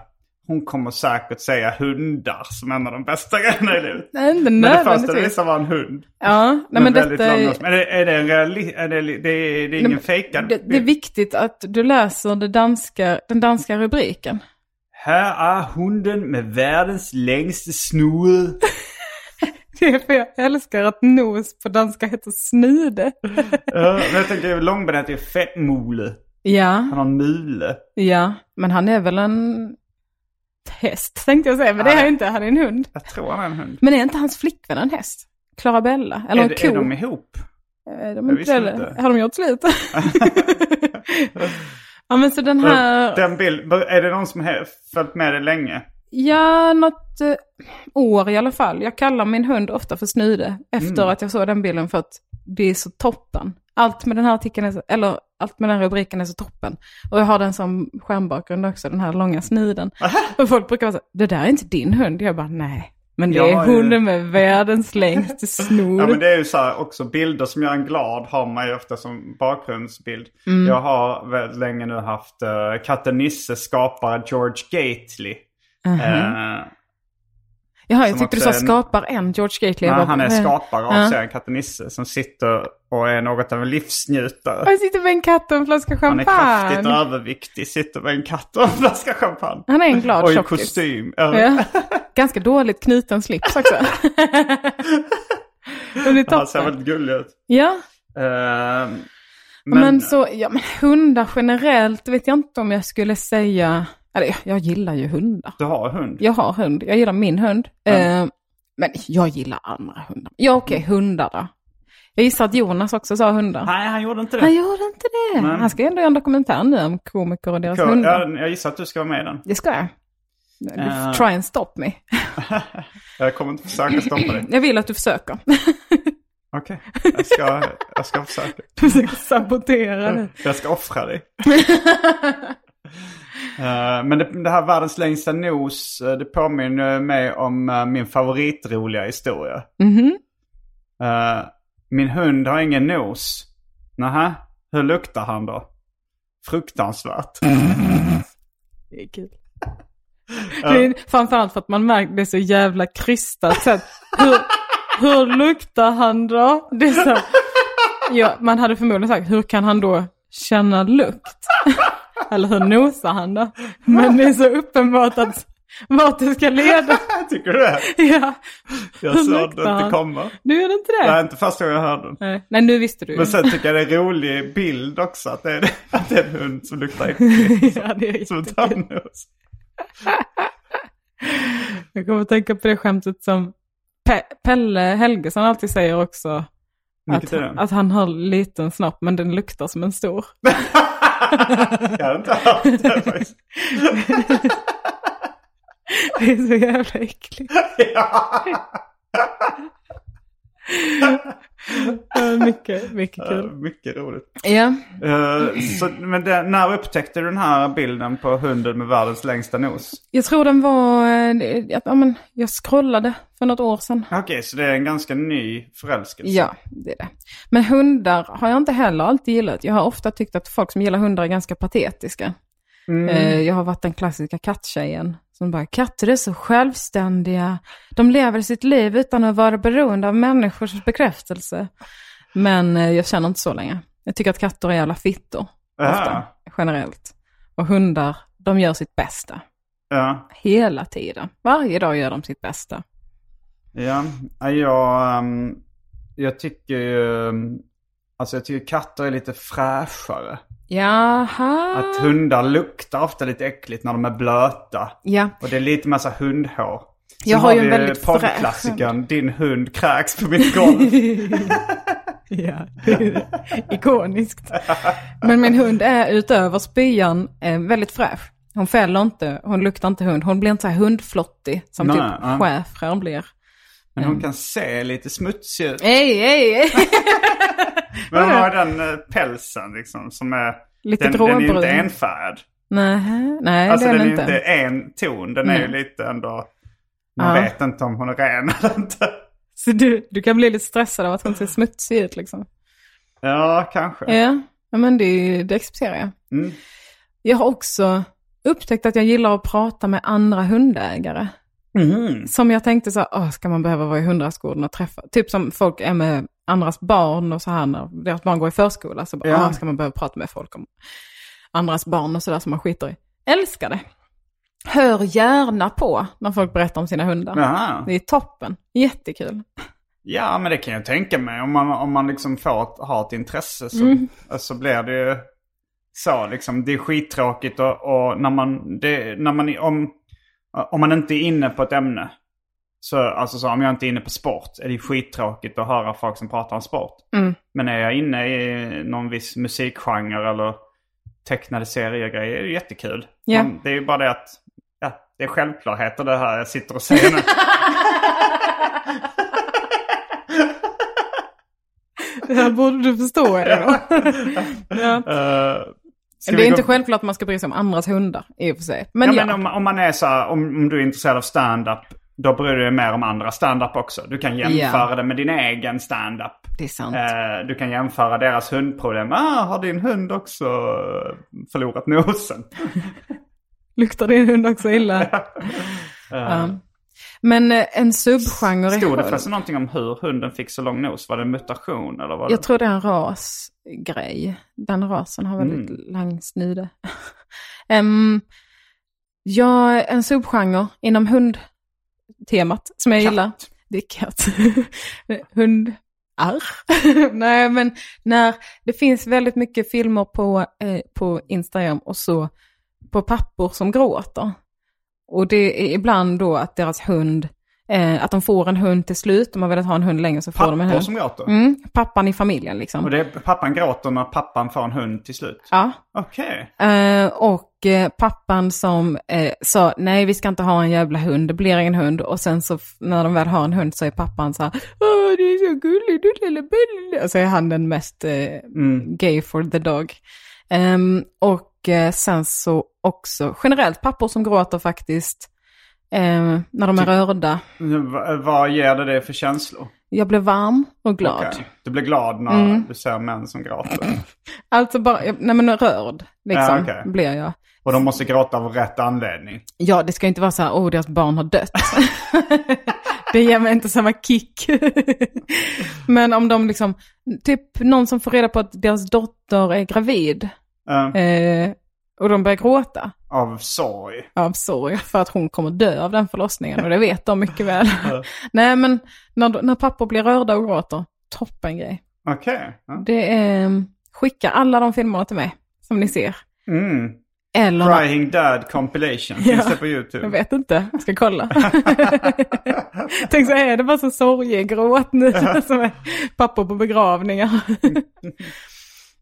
B: hon kommer säkert säga hundar som en av de bästa grejerna i livet.
C: Nej, inte
B: Men det första du
C: nödvändigtvis.
B: visade var en hund.
C: Ja, nej men
B: Med väldigt
C: detta
B: lång
C: är...
B: nos. Men är, är det en reali- är det, det, är- det är
C: Nej,
B: ingen
C: men
B: fejkad
C: Det, det är
B: bild?
C: viktigt att du läser det danska, den danska rubriken.
B: Här är hunden med världens längsta snude.
C: Det är för jag älskar att nos på danska heter snude.
B: Ja, men jag tänker långbenet är fettmule.
C: Ja,
B: Han har en mule.
C: ja. Men han är väl en häst tänkte jag säga. Men det är han ju inte, han är en hund.
B: Jag tror han är en hund.
C: Men är inte hans flickvän en häst? Clarabella? Eller
B: är,
C: en
B: det-
C: ko?
B: är de ihop?
C: Är
B: Jag
C: de inte
B: visste
C: det?
B: inte.
C: Har de gjort slut? ja men så den här...
B: Den bild, är det någon som har följt med det länge?
C: Ja, något eh, år i alla fall. Jag kallar min hund ofta för Snude efter
B: Mm.
C: att jag såg den bilden för att det är så toppen. Allt med den här artikeln, är så, eller allt med den här rubriken är så toppen. Och jag har den som skärmbakgrund också, den här långa snuden. Och folk brukar vara så här, det där är inte din hund. Jag bara, nej. Men det
B: Ja,
C: är
B: ja.
C: hunden med världens längsta snor.
B: Ja men det är ju så här också, bilder som gör en glad har man ju ofta som bakgrundsbild.
C: Mm.
B: Jag har väldigt länge nu haft uh, katten Nisse skapare George Gately.
C: Mhm.
B: Eh,
C: Jaha, jag
B: som
C: tyckte du sa
B: också är en-
C: skapar en George Eh,
B: nej,
C: Gately. Jag bara,
B: han är
C: nej.
B: skapare av
C: Ja.
B: serien Katten Nisse som sitter och är något av en livsnjutare.
C: Han sitter med en katt och en flaska
B: Han är
C: champagne.
B: kraftigt överviktig, sitter med en katt och en flaska champagne.
C: Han är en glad
B: Och i
C: tjockis.
B: kostym. Ja.
C: Ja. Ganska dåligt knuten slips också. Den är
B: Han ser
C: toppen.
B: väldigt gullig ut.
C: Ja,
B: Eh,
C: men, så, ja, men hundar generellt vet jag inte om jag skulle säga, eller jag, jag gillar ju hundar.
B: Du har hund?
C: Jag har hund, jag gillar min hund.
B: Mm.
C: Eh, men jag gillar andra hundar. Ja okej, hundar då. Jag gissar att Jonas också sa hundar.
B: Nej, han gjorde inte det.
C: Han gjorde inte det.
B: Nej.
C: Han ska ändå göra en dokumentär nu om komiker och deras
B: Cool.
C: hundar.
B: jag, jag gissar att du ska vara med i den.
C: Det ska jag.
B: Eh.
C: Try and stop me.
B: Jag kommer inte försöka stoppa dig.
C: Jag vill att du försöker.
B: Okej, jag, ska, jag ska försöka.
C: Du försöker sabotera nu.
B: Jag ska offra dig. Eh, Men det, det här världens längsta nos, eh, det påminner mig om eh, min favoritroliga historia.
C: Mhm.
B: Eh, Min hund har ingen nos. Nähä, hur luktar han då? Fruktansvärt.
C: Det är kul. Det är framförallt för att man märker det är så jävla krystat. Så att, hur, hur luktar han då? Det är så, här- ja, man hade förmodligen sagt, hur kan han då känna lukt? Eller hur nosar han då? Men det är så uppenbart att vart det ska leda.
B: Tycker du det?
C: Ja,
B: Jag
C: Hur
B: såg
C: luktar
B: det inte
C: han?
B: komma.
C: nu är det inte
B: Det är
C: det.
B: inte första gången jag hörde den.
C: Nej, Nej nu visste du. ju.
B: Men sen tycker jag det är en rolig bild också att det är, att det är en hund som luktar äckligt
C: ja, det är
B: som tar nos.
C: Jag kommer att tänka på det skämtet som Pe Pelle Helgesson alltid säger också.
B: Vilket
C: Att,
B: är det?
C: att han har liten snopp men den luktar som en stor.
B: Jag hade inte hört det faktiskt.
C: Det är så jävla äckligt.
B: Ja.
C: Ja, Mycket, mycket kul.
B: Mycket roligt.
C: Ja.
B: Eh, så, men det, när upptäckte du den här bilden på hunden med världens längsta nos?
C: Jag tror den var, eh, det- att- ja, men jag scrollade för något år sedan.
B: Okej, så det är en ganska ny förälskelse.
C: Ja, det är det. Men hundar har jag inte heller alltid gillat. Jag har ofta tyckt att folk som gillar hundar är ganska patetiska. Eh, Jag har varit den klassiska katttjejen som bara, katter är så självständiga. De lever sitt liv utan att vara beroende av människors bekräftelse. Men eh, jag känner inte så länge. Jag tycker att katter är jävla fittor, ofta,
B: Aha.
C: generellt. Och hundar, de gör sitt bästa.
B: Ja.
C: Hela tiden. Varje dag gör de sitt bästa.
B: Ja, ja jag, ehm, jag tycker ju... ehm, Alltså jag tycker katter är lite fräschare.
C: Jaha.
B: Att hundar luktar ofta lite äckligt när de är blöta.
C: Ja.
B: Och det är lite massa hundhår. Sen
C: Jag har ju en
B: vi eh,
C: väldigt
B: poddklassikern, Din hund kräks på mitt golv.
C: Ja, det är ikoniskt. Men min hund är utöver spyan eh, väldigt fräsch. Hon fäller inte, hon luktar inte hund. Hon blir inte så här hundflottig som
B: Nej,
C: typ
B: ja.
C: schäfrar blir.
B: Men hon kan se lite smutsig ut.
C: Ej, ej, ej.
B: Men hon har den eh, pälsen liksom som är...
C: Lite
B: den, den är ju
C: gråbrun.
B: inte enfärd.
C: Nej, nej
B: Alltså
C: det är
B: den är
C: den
B: ju
C: inte.
B: inte en ton. Den är ju
C: Nej.
B: lite ändå... Man
C: Ja.
B: vet inte om hon är ren eller inte.
C: Så du, du kan bli lite stressad av att hon ser smutsig ut liksom.
B: Ja, kanske.
C: Ja, ja men det, det accepterar jag.
B: Mm.
C: Jag har också upptäckt att jag gillar att prata med andra hundägare.
B: Mhm.
C: Som jag tänkte så här, "Åh, ska man behöva vara i hundrastgården och träffa, typ som folk är med andras barn och så här när deras barn går i förskola, så bara,
B: Ja.
C: "Åh, ska man behöva prata med folk om andras barn och sådär som man skiter i. Älskar det. Hör gärna på när folk berättar om sina hundar.
B: Jaha.
C: Det är toppen, jättekul.
B: Ja, men det kan jag tänka mig. Om man, om man liksom får ett, har ett intresse så,
C: Mm.
B: så blir det ju så. Liksom, det är skittråkigt och, och när man, det, när man om, om man inte är inne på ett ämne. Så, alltså så, om jag inte är inne på sport är det ju skittråkigt att höra folk som pratar om sport.
C: Mm.
B: Men är jag inne i någon viss musikgenre eller tecknade serier och grejer är det jättekul.
C: Ja.
B: Men det är ju bara det att ja, det är självklarheter det här jag sitter och säger nu.
C: Det här borde du förstå eller ja.
B: Eh, ska vi
C: Det är
B: gå-
C: inte självklart att man ska bry sig om andras hundar i och för sig.
B: Ja,
C: Men ja,
B: men om, om man är så här, om, om du är intresserad av stand-up, då bryr du dig mer om andra stand-up också. Du kan jämföra det med din egen stand-up.
C: det är sant.
B: Eh, du kan jämföra deras hundproblem. Ah, har din hund också förlorat nosen? Eh,
C: Luktar din hund också illa? Ja. Men eh, en subgenre är
B: Stod det
C: hund.
B: förresten någonting om hur hunden fick så lång nos? Var det en mutation eller? Var det...
C: Jag tror det är en rasgrej. Den rasen har väldigt
B: Mm.
C: lang snude. Em, ja, en subgenre inom hundtemat som jag gillar. Det är katt. Hund. Arr. Nej, men när det finns väldigt mycket filmer på, eh, på Instagram och så på pappor som gråter. Och det är ibland då att deras hund, eh, att de får en hund till slut, de har velat ha en hund länge så får de en
B: Pappor
C: hund.
B: som gråter?
C: Mm, pappan i familjen liksom.
B: Och det är, pappan gråter när pappan får en hund till slut?
C: Ja.
B: Okej.
C: Eh, och eh, pappan som eh, sa nej vi ska inte ha en jävla hund, det blir ingen hund. Och sen så f- när de väl har en hund så är pappan så här, åh du är så gullig du lilla bulle. Och så är han den mest eh,
B: Mm.
C: gay for the dog. Ehm, och eh, sen så också generellt pappor som gråter faktiskt eh, när de är
B: Typ-
C: rörda.
B: V- Vad ger det dig för känslor?
C: Jag blev varm och glad. Mm.
B: Okej. Du blir glad när du ser män som gråter.
C: Alltså bara, jag- nej men rörd liksom
B: Ja, okej.
C: blir jag.
B: Och de måste gråta av rätt anledning.
C: Ja, det ska ju inte vara så här, åh, deras barn har dött. det ger mig inte samma kick. Men om de liksom, typ någon som får reda på att deras dotter är gravid
B: Eh,
C: eh, och de börjar gråta
B: Av sorg.
C: av sorg för att hon kommer dö av den förlossningen och det vet de mycket väl. Nej, men när, när pappor blir rörda och gråter, toppen grej.
B: Okej. ja.
C: Det är, skicka alla de filmerna till mig som ni ser.
B: Mm.
C: Eller
B: Crying Dad Compilation. Finns
C: Ja.
B: det på YouTube?
C: Jag vet inte, jag ska kolla. Tänk så är det bara så sorgegråt nu som är pappor på begravningar.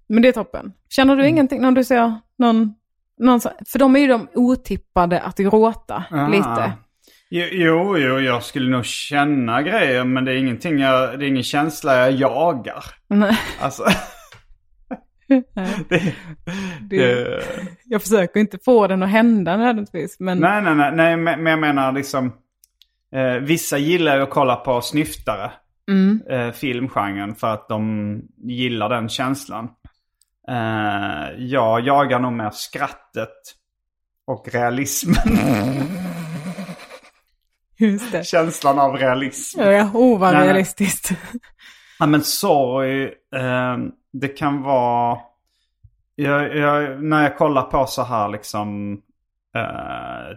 C: Men det är toppen. Känner
B: Mm.
C: du ingenting när du ser någon, någon så, för de är ju de otippade att gråta
B: Ah.
C: lite.
B: Jo, jo, jo, jag skulle nog känna grejer men det är ingenting jag, det är ingen känsla jag jagar.
C: Nej,
B: Alltså,
C: nej,
B: det,
C: det,
B: det,
C: jag försöker inte få den att hända nödvändigtvis, men
B: nej, nej, nej, nej, men men jag menar liksom, eh, vissa gillar ju att kolla på snyftare, eh, filmgenren, för att de gillar den känslan. Eh, jag jagar nog mer skrattet och realismen,
C: just det.
B: känslan av realism.
C: Ja, oh, vad
B: Nej, nej.
C: realistiskt.
B: Ja men sorg, eh, det kan vara... Jag, jag, när jag kollar på så här liksom eh,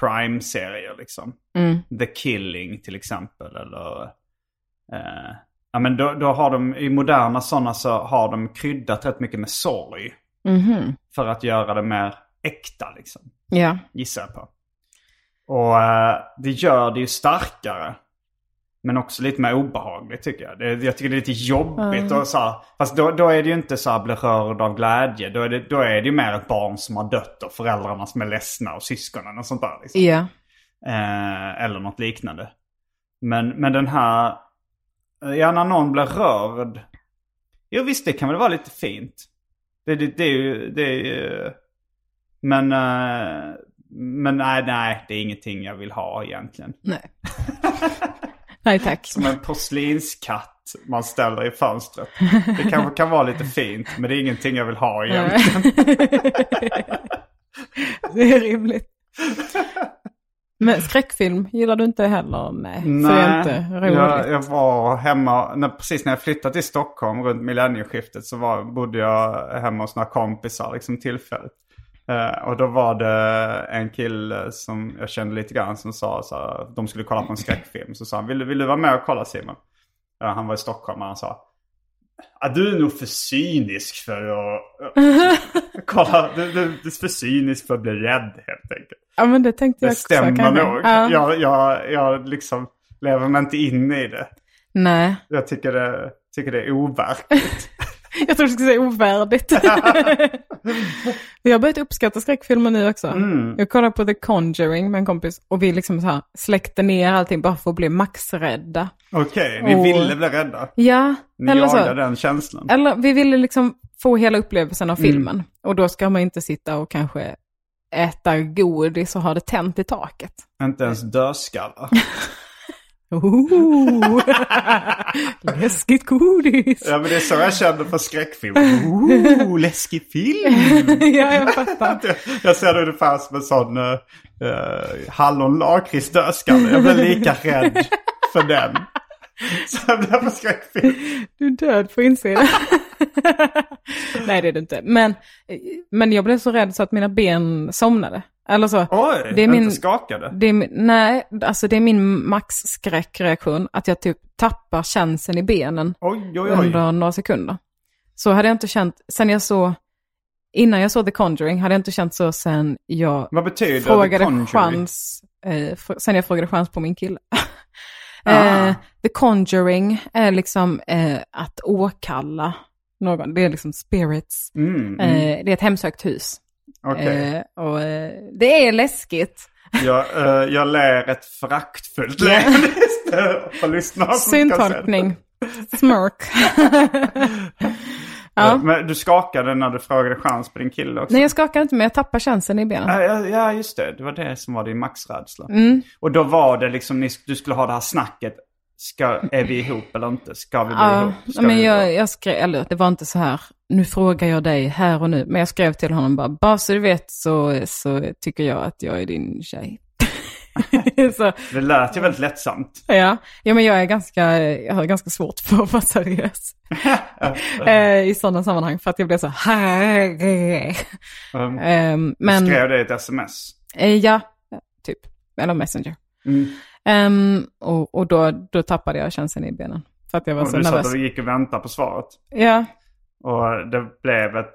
B: crime-serier liksom. The Killing till exempel eller... eh, ja men då, då har de, i moderna sådana så har de kryddat rätt mycket med sorg.
C: Mhm.
B: För att göra det mer äkta liksom
C: Ja,
B: gissar jag på. Och eh, det gör det ju starkare. Men också lite mer obehagligt tycker jag. Det, jag tycker det är lite jobbigt. Och så här, fast då, då är det ju inte så här bli rörd av glädje. Då är, det, då är det ju mer ett barn som har dött och föräldrarna som är ledsna och syskonen och sånt där. Liksom.
C: ja.
B: Eh, eller något liknande. Men, men den här... Ja, när någon blir rörd. Jo visst, det kan väl vara lite fint. Det, det, det är ju... Det är ju men... eh, men nej, nej, det är ingenting jag vill ha egentligen.
C: Nej. nej tack.
B: Som en porslinskatt man ställer i fönstret. Det kanske kan vara lite fint, men det är ingenting jag vill ha egentligen.
C: Det är rimligt. Men skräckfilm gillar du inte heller? Nej, så är det inte roligt.
B: jag, jag var hemma, när, precis när jag flyttade till Stockholm runt millennieskiftet så var, bodde jag hemma hos några kompisar liksom tillfälligt. Eh, och då var det en kille som jag kände lite grann som sa så här, de skulle kolla på en skräckfilm. Så sa han, vill, du- vill du vara med och kolla Simon? Ja, han var i Stockholm och han sa, "Ja, du är nog för cynisk för att kolla, du, du, du är för cynisk för att bli rädd helt enkelt.
C: Ja, men det tänkte jag
B: Det
C: också.
B: stämmer
C: kanske.
B: nog.
C: Ja.
B: Jag, jag, jag liksom lever mig inte in i det.
C: Nej,
B: Jag tycker det, tycker det är overkligt.
C: jag tror du skulle säga ovärdigt. jag har börjat uppskatta skräckfilmer nu också.
B: Mm.
C: Jag kollade på The Conjuring med en kompis och vi liksom så här släckte ner allting bara för att bli maxrädda.
B: Okej, ni
C: Åh.
B: ville bli rädda.
C: Ja,
B: Ni
C: eller så.
B: jagade den känslan.
C: Eller vi ville liksom få hela upplevelsen
B: Mm.
C: av filmen. Och då ska man inte sitta och kanske äta godis och ha det tänt i taket.
B: Inte ens dödskallar.
C: Ooh. Läskigt godis!
B: ja, men det är så jag känner för skräckfilm. Ooh, läskig film!
C: ja, jag fattar.
B: Jag ser det ungefär som en sån eh, uh, hallon-lakrits-dödskalle. Jag blir lika rädd för den. Så jag blir för skräckfilm.
C: Du är död på insidan. Nej, det är du inte. Men, men jag blev så rädd så att mina ben somnade. Eller så.
B: Oj,
C: Det är
B: inte
C: min-
B: skakade.
C: Det är, min- nej, alltså det är min maxskräckreaktion att jag typ tappar känseln i benen
B: Oj, oj, oj.
C: under några sekunder. Så hade jag inte känt, sen jag såg, innan jag såg The Conjuring hade jag inte känt så sen jag
B: Vad betyder The
C: frågade
B: Conjuring?
C: chans, eh, fr- sen jag frågade chans på min kille.
B: Ah.
C: eh, the Conjuring är liksom eh, att åkalla någon, det är liksom spirits.
B: Mm,
C: Eh,
B: mm,
C: det är ett hemsökt hus.
B: Okej,
C: Eh, och, eh, det är läskigt.
B: jag, eh, jag lär ett föraktfullt leende för lyssnarna som ska se det.
C: Syntolkning. Smirk.
B: Eh,
C: ja.
B: Men du skakade när du frågade chans på din kille också?
C: Nej, jag skakar inte men jag Mm. tappar känslan i benen.
B: Ja, ja, ja, just det. Det var det som var din maxrädsla. Och då var det liksom, ni, du skulle ha det här snacket. Ska, är vi ihop eller inte? Ska vi bli
C: Ja,
B: ihop? Ska
C: men
B: vi
C: jag,
B: ihop?
C: jag skrev, eller det var inte så här, nu frågar jag dig här och nu, men jag skrev till honom bara, bara så du vet så, så tycker jag att jag är din tjej. så,
B: Det lät ju väldigt lättsamt.
C: ja. ja, men jag är ganska, jag har ganska svårt för att vara seriös eh, i sådana sammanhang, för att jag blir så här.
B: Um,
C: Eh, men,
B: Skrev det i ett sms.
C: eh, ja, typ, eller Messenger.
B: Mm.
C: Ehm, och och då, då tappade jag känslan i benen, för att jag var
B: Och
C: så
B: du sa
C: nervös.
B: att du gick och väntade på svaret.
C: Ja,
B: Och det blev ett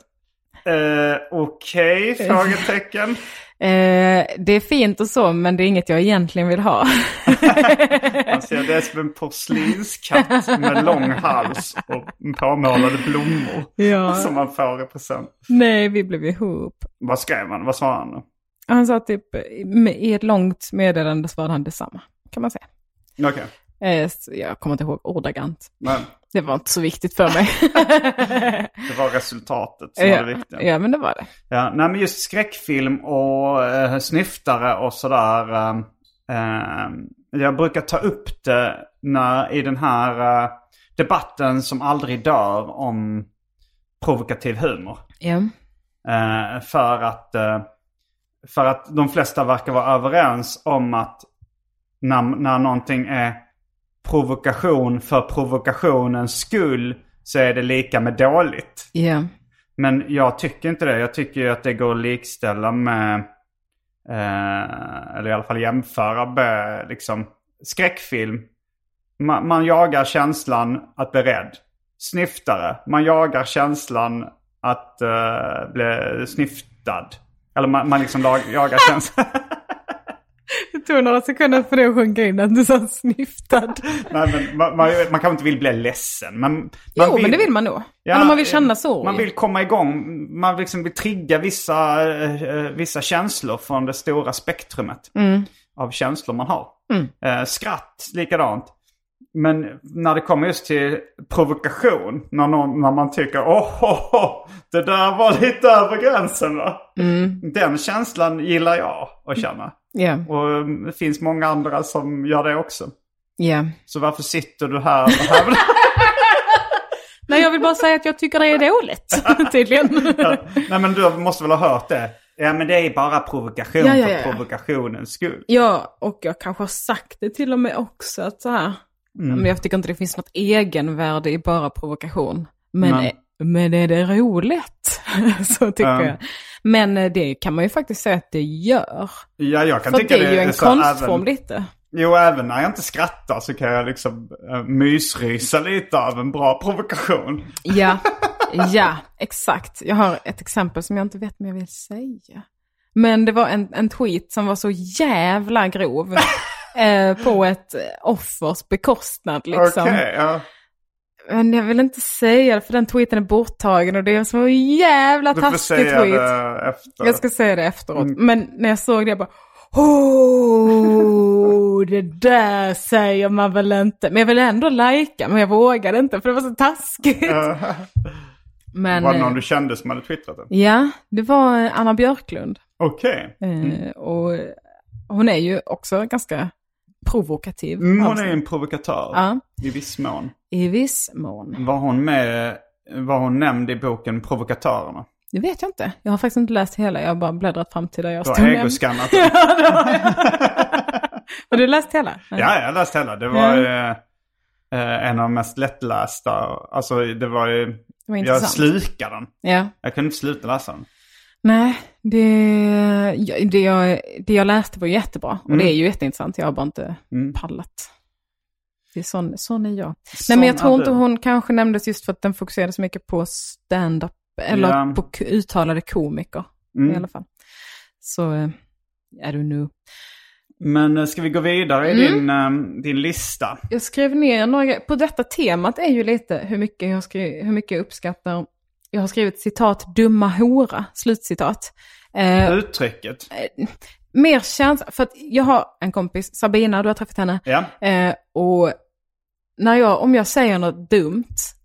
B: eh, okej? frågetecken.
C: Eh, det är fint och så, men det är inget jag egentligen vill ha.
B: Man ser det som en porslinskatt med lång hals och påmålade blommor.
C: Ja.
B: Som man får i present.
C: Nej, vi blev ihop.
B: Vad skrev han? Vad sa han? då?
C: Han sa typ, med- i ett långt meddelande svarade han detsamma, kan man säga.
B: Okej.
C: Eh, så jag kommer inte ihåg ordagrant.
B: Men
C: Det var inte så viktigt för mig.
B: det var resultatet som var det
C: ja,
B: viktiga.
C: ja, men det var det.
B: Ja, nej, men just skräckfilm och eh, snyftare och sådär. ehm, ehm, jag brukar ta upp det när, i den här eh, debatten som aldrig dör om provokativ humor.
C: Ja.
B: Eh, för, att, eh, för att de flesta verkar vara överens om att när, när någonting är provokation för provokationens skull så är det lika med dåligt.
C: Ja.
B: Men jag tycker inte det. Jag tycker ju att det går att likställa med, eh, eller i alla fall jämföra med, liksom, skräckfilm. Man, man jagar känslan att bli rädd. Snyftare. Man jagar känslan att eh, bli snyftad. Eller man, man liksom lag, jagar känslan.
C: Det tog några sekunder för det att sjunka in att du sa snyftad.
B: Nej, men man, man, man kanske inte vill bli ledsen. Men man
C: Jo, men det vill man nog.
B: Ja,
C: Eller man vill
B: eh,
C: känna sorg.
B: Man vill komma igång. Man liksom vill trigga vissa, eh, eh, vissa känslor från det stora spektrumet av känslor man har. Eh, Skratt likadant. Men när det kommer just till provokation, när, någon, när man tycker åh, oh, det där var lite över gränsen va? Den känslan gillar jag att känna.
C: Ja,
B: Och eh, det finns många andra som gör det också.
C: ja.
B: Så varför sitter du här? och här?
C: Nej, jag vill bara säga att jag tycker det är dåligt, tydligen.
B: Nej men du måste väl ha hört det? Ja men det är bara provokation
C: Ja, ja, ja,
B: för
C: ja.
B: provokationens skull.
C: Ja, och jag kanske har sagt det till och med också att så här.
B: Mm.
C: Men jag tycker inte det finns något egenvärde i bara provokation. Men,
B: Nej.
C: men är det roligt? så tycker
B: Ja.
C: jag. Men eh, det kan man ju faktiskt säga att det gör.
B: Ja jag kan
C: För det
B: tycka
C: är ju en
B: så
C: konstform
B: även,
C: lite.
B: Jo även när jag inte skrattar så kan jag liksom uh, mysrysa lite av en bra provokation.
C: Ja, ja, exakt. Jag har ett exempel som jag inte vet om jag vill säga. Men det var en, en tweet som var så jävla grov. eh, på ett offers bekostnad liksom.
B: Okej, ja.
C: Men jag vill inte säga det för den tweeten är borttagen och det är en så jävla
B: Du får
C: taskig
B: säga
C: tweet.
B: det efter.
C: Jag ska säga det efteråt.
B: Mm.
C: Men när jag såg det jag bara Oh, det där säger man väl inte. Men jag ville ändå lajka, men jag vågade inte för det var så taskigt.
B: Eh,
C: Men,
B: var det
C: eh,
B: någon du kände som hade twittrat det?
C: Ja, det var eh, Anna Björklund.
B: Okej.
C: Eh,
B: Mm.
C: Och eh, hon är ju också ganska provokativ.
B: Mm,
C: av
B: hon är
C: sig.
B: en provokatör.
C: Ja,
B: I viss mån.
C: i viss mån.
B: Var hon med, var hon nämnd i boken Provokatörerna?
C: Det vet jag inte. Jag har faktiskt inte läst hela, jag har bara bläddrat fram till där jag
B: Du
C: stod.
B: har
C: nämnd.
B: egoskannat
C: Ja,
B: den.
C: det har jag. Har du läst hela? Nej.
B: Ja, jag läste hela. Det
C: Mm.
B: var eh, eh, en av de mest lättlästa. Alltså det var ju...
C: Det var
B: Jag
C: intressant.
B: slukade den.
C: Ja.
B: Jag kunde inte sluta läsa den.
C: Nej, det, jag- det, jag, det jag läste var jättebra. Och
B: Mm.
C: det är ju jätteintressant, jag har bara inte
B: Mm.
C: pallat. Det är sån, sån är jag. Nej
B: Sån
C: men jag tror
B: är
C: inte
B: du.
C: hon kanske nämndes just för att den fokuserade så mycket på stand-up. Eller
B: Ja.
C: på k- uttalade komiker i alla
B: Mm.
C: fall. Så, eh, I don't know.
B: Men eh, ska vi gå vidare i
C: Mm.
B: din, eh, din lista?
C: Jag skrev ner några, på detta temat är ju lite hur mycket jag, skri, hur mycket jag uppskattar. Jag har skrivit citat dumma hora, slutcitat. Eh,
B: Uttrycket.
C: mer känsla, för att jag har en kompis, Sabina, du har träffat henne.
B: Ja.
C: Eh, och när jag, om jag säger något dumt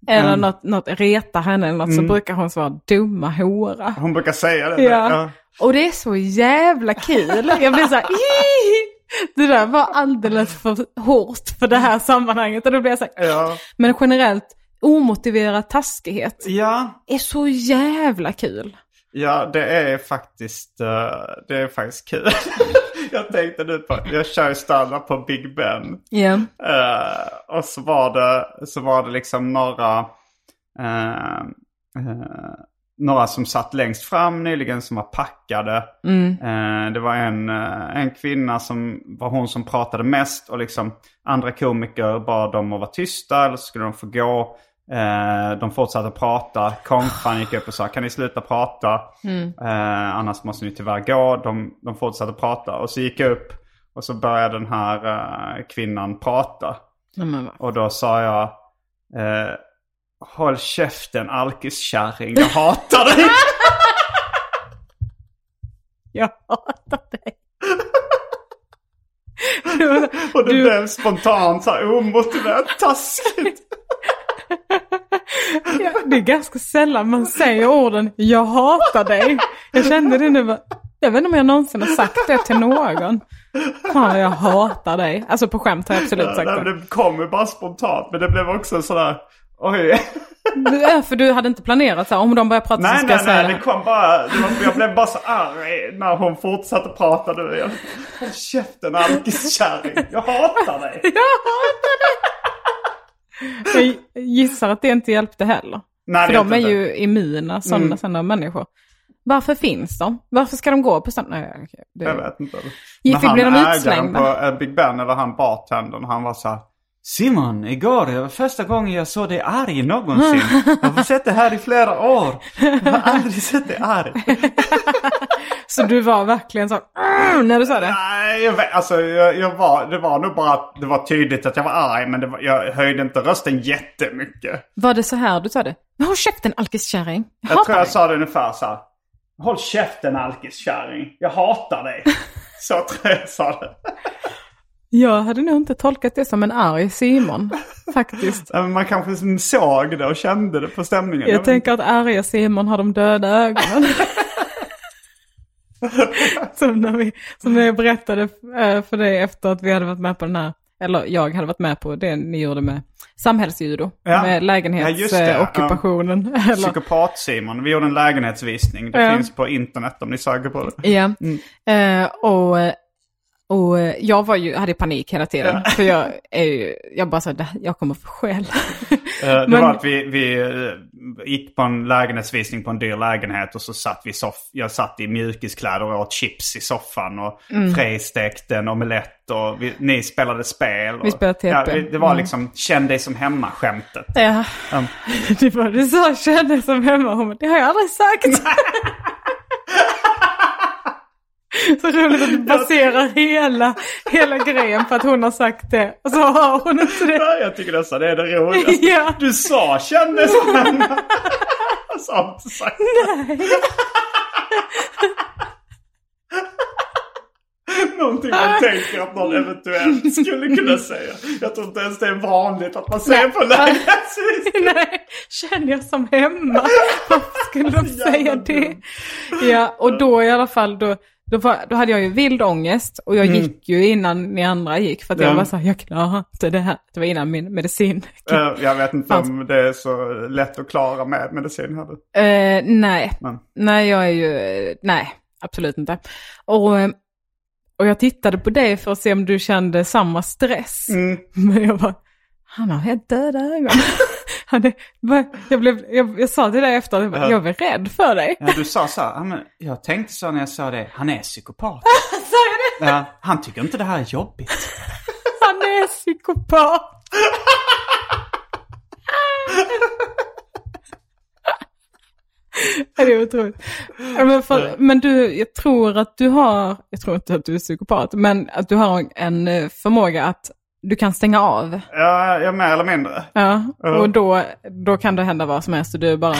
C: eller
B: Mm.
C: något, något retar henne eller något så brukar hon svara dumma hora.
B: Hon brukar säga det.
C: Ja. Och det är så jävla kul. Jag blir så här, "Ih!" det där var alldeles för hårt för det här sammanhanget. Och då blir jag så här,
B: Ja.
C: men generellt, omotiverad taskighet
B: ja.
C: är så jävla kul.
B: Ja, det är faktiskt, eh, det är faktiskt kul. jag tänkte nu på, jag kör ju standup på Big Ben.
C: Ja.
B: Eh, och så var, det, så var det liksom några, eh, eh, några som satt längst fram nyligen som var packade. Eh, det var en, eh, en kvinna som var hon som pratade mest och liksom andra komiker bad dem att vara tysta eller så skulle de få gå. Eh, de fortsatte prata. Konfan gick upp och sa kan ni sluta prata? Eh, annars måste ni tyvärr gå. De, de fortsatte prata och så gick jag upp och så började den här eh, kvinnan prata.
C: Nej, men vad-
B: Och då sa jag eh, Håll käften alkiskärring, jag hatar dig!
C: Jag hatar dig. Det var så-
B: Och det
C: Du-
B: blev spontant så här oh, omotiverat taskigt.
C: Ja, det är ganska sällan man säger orden jag hatar dig. Jag kände det nu. va- Jag vet inte om jag någonsin har sagt det till någon. Fan vad jag hatar dig. Alltså på skämt har jag absolut sagt
B: Nej,
C: det.
B: Det kom ju bara spontant, men det blev också en sån där Oj.
C: Du, ja, för du hade inte planerat så här, om de börjar prata så
B: Nej,
C: ska
B: nej,
C: jag säga
B: nej, det
C: det.
B: kom bara. Det var, jag blev bara så arg när hon fortsatte prata. nu igen. Håll käften alkiskärring, jag hatar dig!
C: Jag hatar dig! Jag gissar att det inte hjälpte heller.
B: Nej,
C: För
B: det
C: de är
B: inte.
C: ju immuna, sådana
B: Mm.
C: sådana människor. Varför finns de? Varför ska de gå på sådana? Nej, okej, det-
B: Jag vet inte.
C: Gick det- blev de
B: ägaren
C: utslängda?
B: på eh, Big Ben, eller han bartendern, han var så här. Simon, igår det var första gången jag såg dig arg någonsin. Jag har sett det här i flera år. Jag har aldrig sett dig arg.
C: Så du var verkligen så "Arr!" när du sa det?
B: Nej, jag vet, alltså jag, jag var, det var nog bara att det var tydligt att jag var arg men det var, jag höjde inte rösten jättemycket.
C: Var det så här du sa det? Men håll käften alkiskärring. Jag
B: Jag
C: hatar
B: tror jag
C: dig.
B: sa det ungefär så här. Håll käften alkiskärring, jag hatar dig. Så tror jag jag sa det.
C: Jag hade nog inte tolkat det som en arg Simon, faktiskt.
B: Men Man kanske såg det och kände det på stämningen.
C: Jag
B: vet
C: tänker att arga Simon har de döda ögonen. som, när vi, som när jag berättade eh, för dig efter att vi hade varit med på den här eller jag hade varit med på det ni gjorde med samhällsjudo,
B: Ja.
C: med
B: Ja, just det.
C: lägenhetsockupationen. Ja,
B: Psykopat-Simon. Vi gjorde en lägenhetsvisning. Det
C: Ja.
B: finns på internet om ni söker på det.
C: Ja, Eh, och, och jag var ju, hade panik hela tiden. För jag är ju, jag bara sa, "Det här- jag kommer få skäll.
B: Eh, Det
C: Men-
B: var att vi, vi eh, gick på en lägenhetsvisning på en dyr lägenhet och så satt vi i soff- jag satt i mjukiskläder och åt chips i soffan och
C: Mm.
B: Frej stekte en omelett och vi, ni spelade spel. Och,
C: Vi spelade TP.
B: Ja, vi, det var
C: Mm.
B: liksom känn dig som hemma-skämtet.
C: ja.
B: Mm.
C: Det var det så jag kände som hemma. Hon bara, det har jag aldrig sagt. Så roligt att du baserar hela, hela grejen på att hon har sagt det. Och så har hon inte det.
B: Ja, Jag tycker nästan det är det roligaste.
C: Ja.
B: Du sa känn dig som hemma. Jag sa inte sagt. Någonting man tänker att någon eventuellt skulle kunna säga. Jag tror inte ens det är vanligt att man säger på lägenhetsvis.
C: Nej, känner jag som hemma. Varför skulle
B: Så
C: de
B: jävla
C: säga det?
B: dumt.
C: Ja, och då i alla fall, då, då, var, då hade jag ju vild ångest. Och jag gick ju innan ni andra gick. För att
B: Mm. Ja.
C: jag var så här, jag klarar inte det här. Det var innan min medicin.
B: Eh, Jag vet inte om det är så lätt att klara med medicin heller.
C: Eh, nej,
B: Men-
C: nej jag är ju, eh, nej, absolut inte. Och, eh, och jag tittade på dig för att se om du kände samma stress.
B: Mm.
C: Men jag bara, han har helt döda ögon. Han är, va? jag, blev, jag, jag sa till dig efter, jag, bara,
B: Ja.
C: jag är rädd för dig.
B: Ja, du sa så här, "Ja, men jag tänkte så när jag sa det, han är psykopat.
C: Sa jag det?
B: Ja, han tycker inte det här är jobbigt.
C: Han är psykopat. Ja, Det är otroligt. Ja, Men, för, men du, jag tror att du har, jag tror inte att du är psykopat, men att du har en eh, förmåga att du kan stänga av.
B: Ja, jag mer eller mindre.
C: Ja, och då, då kan det hända vad som helst och du bara,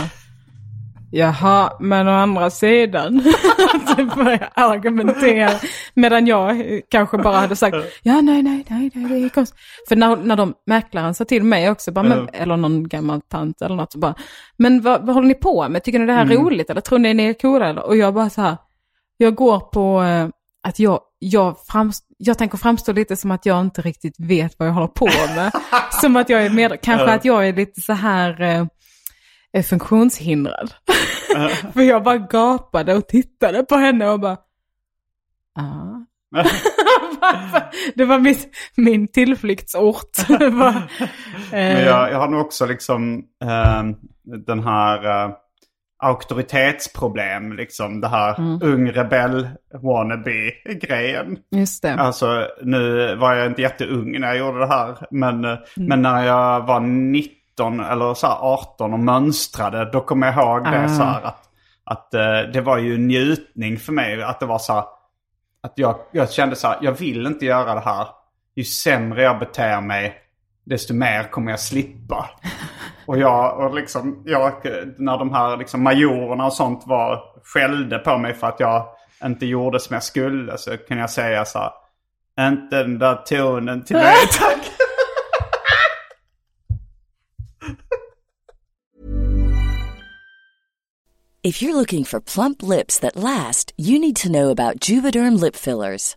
C: jaha, men å andra sidan. så börjar jag argumentera. Medan jag eh, kanske bara hade sagt, ja nej, nej, nej, nej det är konstigt. För när, när de mäklaren sa till mig också, bara, men, eller någon gammal tant eller något, så bara, men vad, vad håller ni på med? Tycker ni det här är roligt eller tror ni ni är coola? Eller? Och jag bara så här, jag går på eh, att jag, jag, framst- jag tänker framstå lite som att jag inte riktigt vet vad jag håller på med. som att jag är med, kanske att jag är lite så här eh, eh, funktionshindrad. För jag bara gapade och tittade på henne och bara, ah. det var mitt, min tillflyktsort. Det var, eh,
B: Men jag, jag har nog också liksom ehm, den här eh, auktoritetsproblem, liksom det här ung rebell wannabe-grejen.
C: eh, Just det.
B: Alltså nu var jag inte jätteung när jag gjorde det här, men, eh,
C: Mm.
B: men när jag var 19 eller så här 18 och mönstrade, då kommer jag ihåg det
C: Ah.
B: så här att, att eh, det var ju en njutning för mig att det var så här, att jag, jag kände så här, jag vill inte göra det här. Ju sämre jag beter mig, desto mer kommer jag slippa. Och jag, och liksom, jag när de här liksom majorerna och sånt var, skällde på mig för att jag inte gjorde som jag skulle så kunde jag säga så här, inte den där tonen till mig tack.
D: If you're looking for plump lips that last, you need to know about Juvederm lip fillers.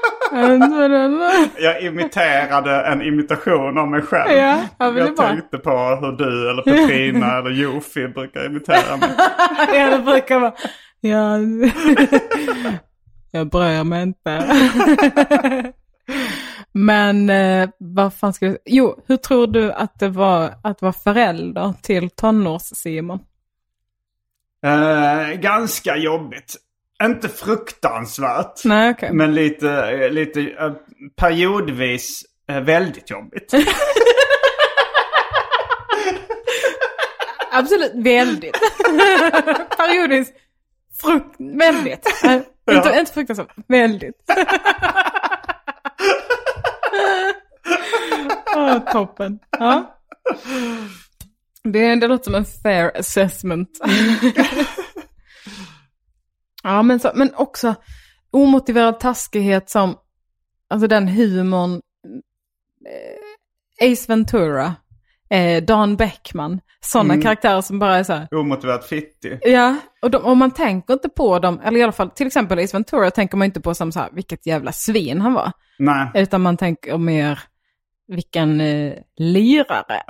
B: Jag imiterade en imitation av mig själv.
C: Ja, ja, men det är
B: jag
C: bra.
B: tänkte på hur du eller Petrina eller Jofi brukar imitera mig.
C: Ja, det brukar vara. Ja. Jag bryr mig inte. Men eh, vad fan ska jag... Jo, hur tror du att det var att vara förälder till tonårs-Simon?
B: Eh, ganska jobbigt. Inte fruktansvärt.
C: Nej, okej.
B: Men lite, eh, lite eh, periodvis eh, väldigt jobbigt.
C: Absolut, väldigt. Periodiskt. Frukt, väldigt. Nej, inte, inte fruktansvärt, väldigt. Åh, toppen. Ja. Det, det låter som en fair assessment. ja, men, så, men också omotiverad taskighet som, alltså den humorn, eh, Ace Ventura, eh, Dan Beckman, sådana
B: Mm.
C: karaktärer som bara är så här,
B: Omotiverat fittig.
C: Ja, och, de, och man tänker inte på dem, eller i alla fall till exempel i Ventura tänker man inte på som så här, vilket jävla svin han var.
B: Nej.
C: Utan man tänker mer, vilken eh, lirare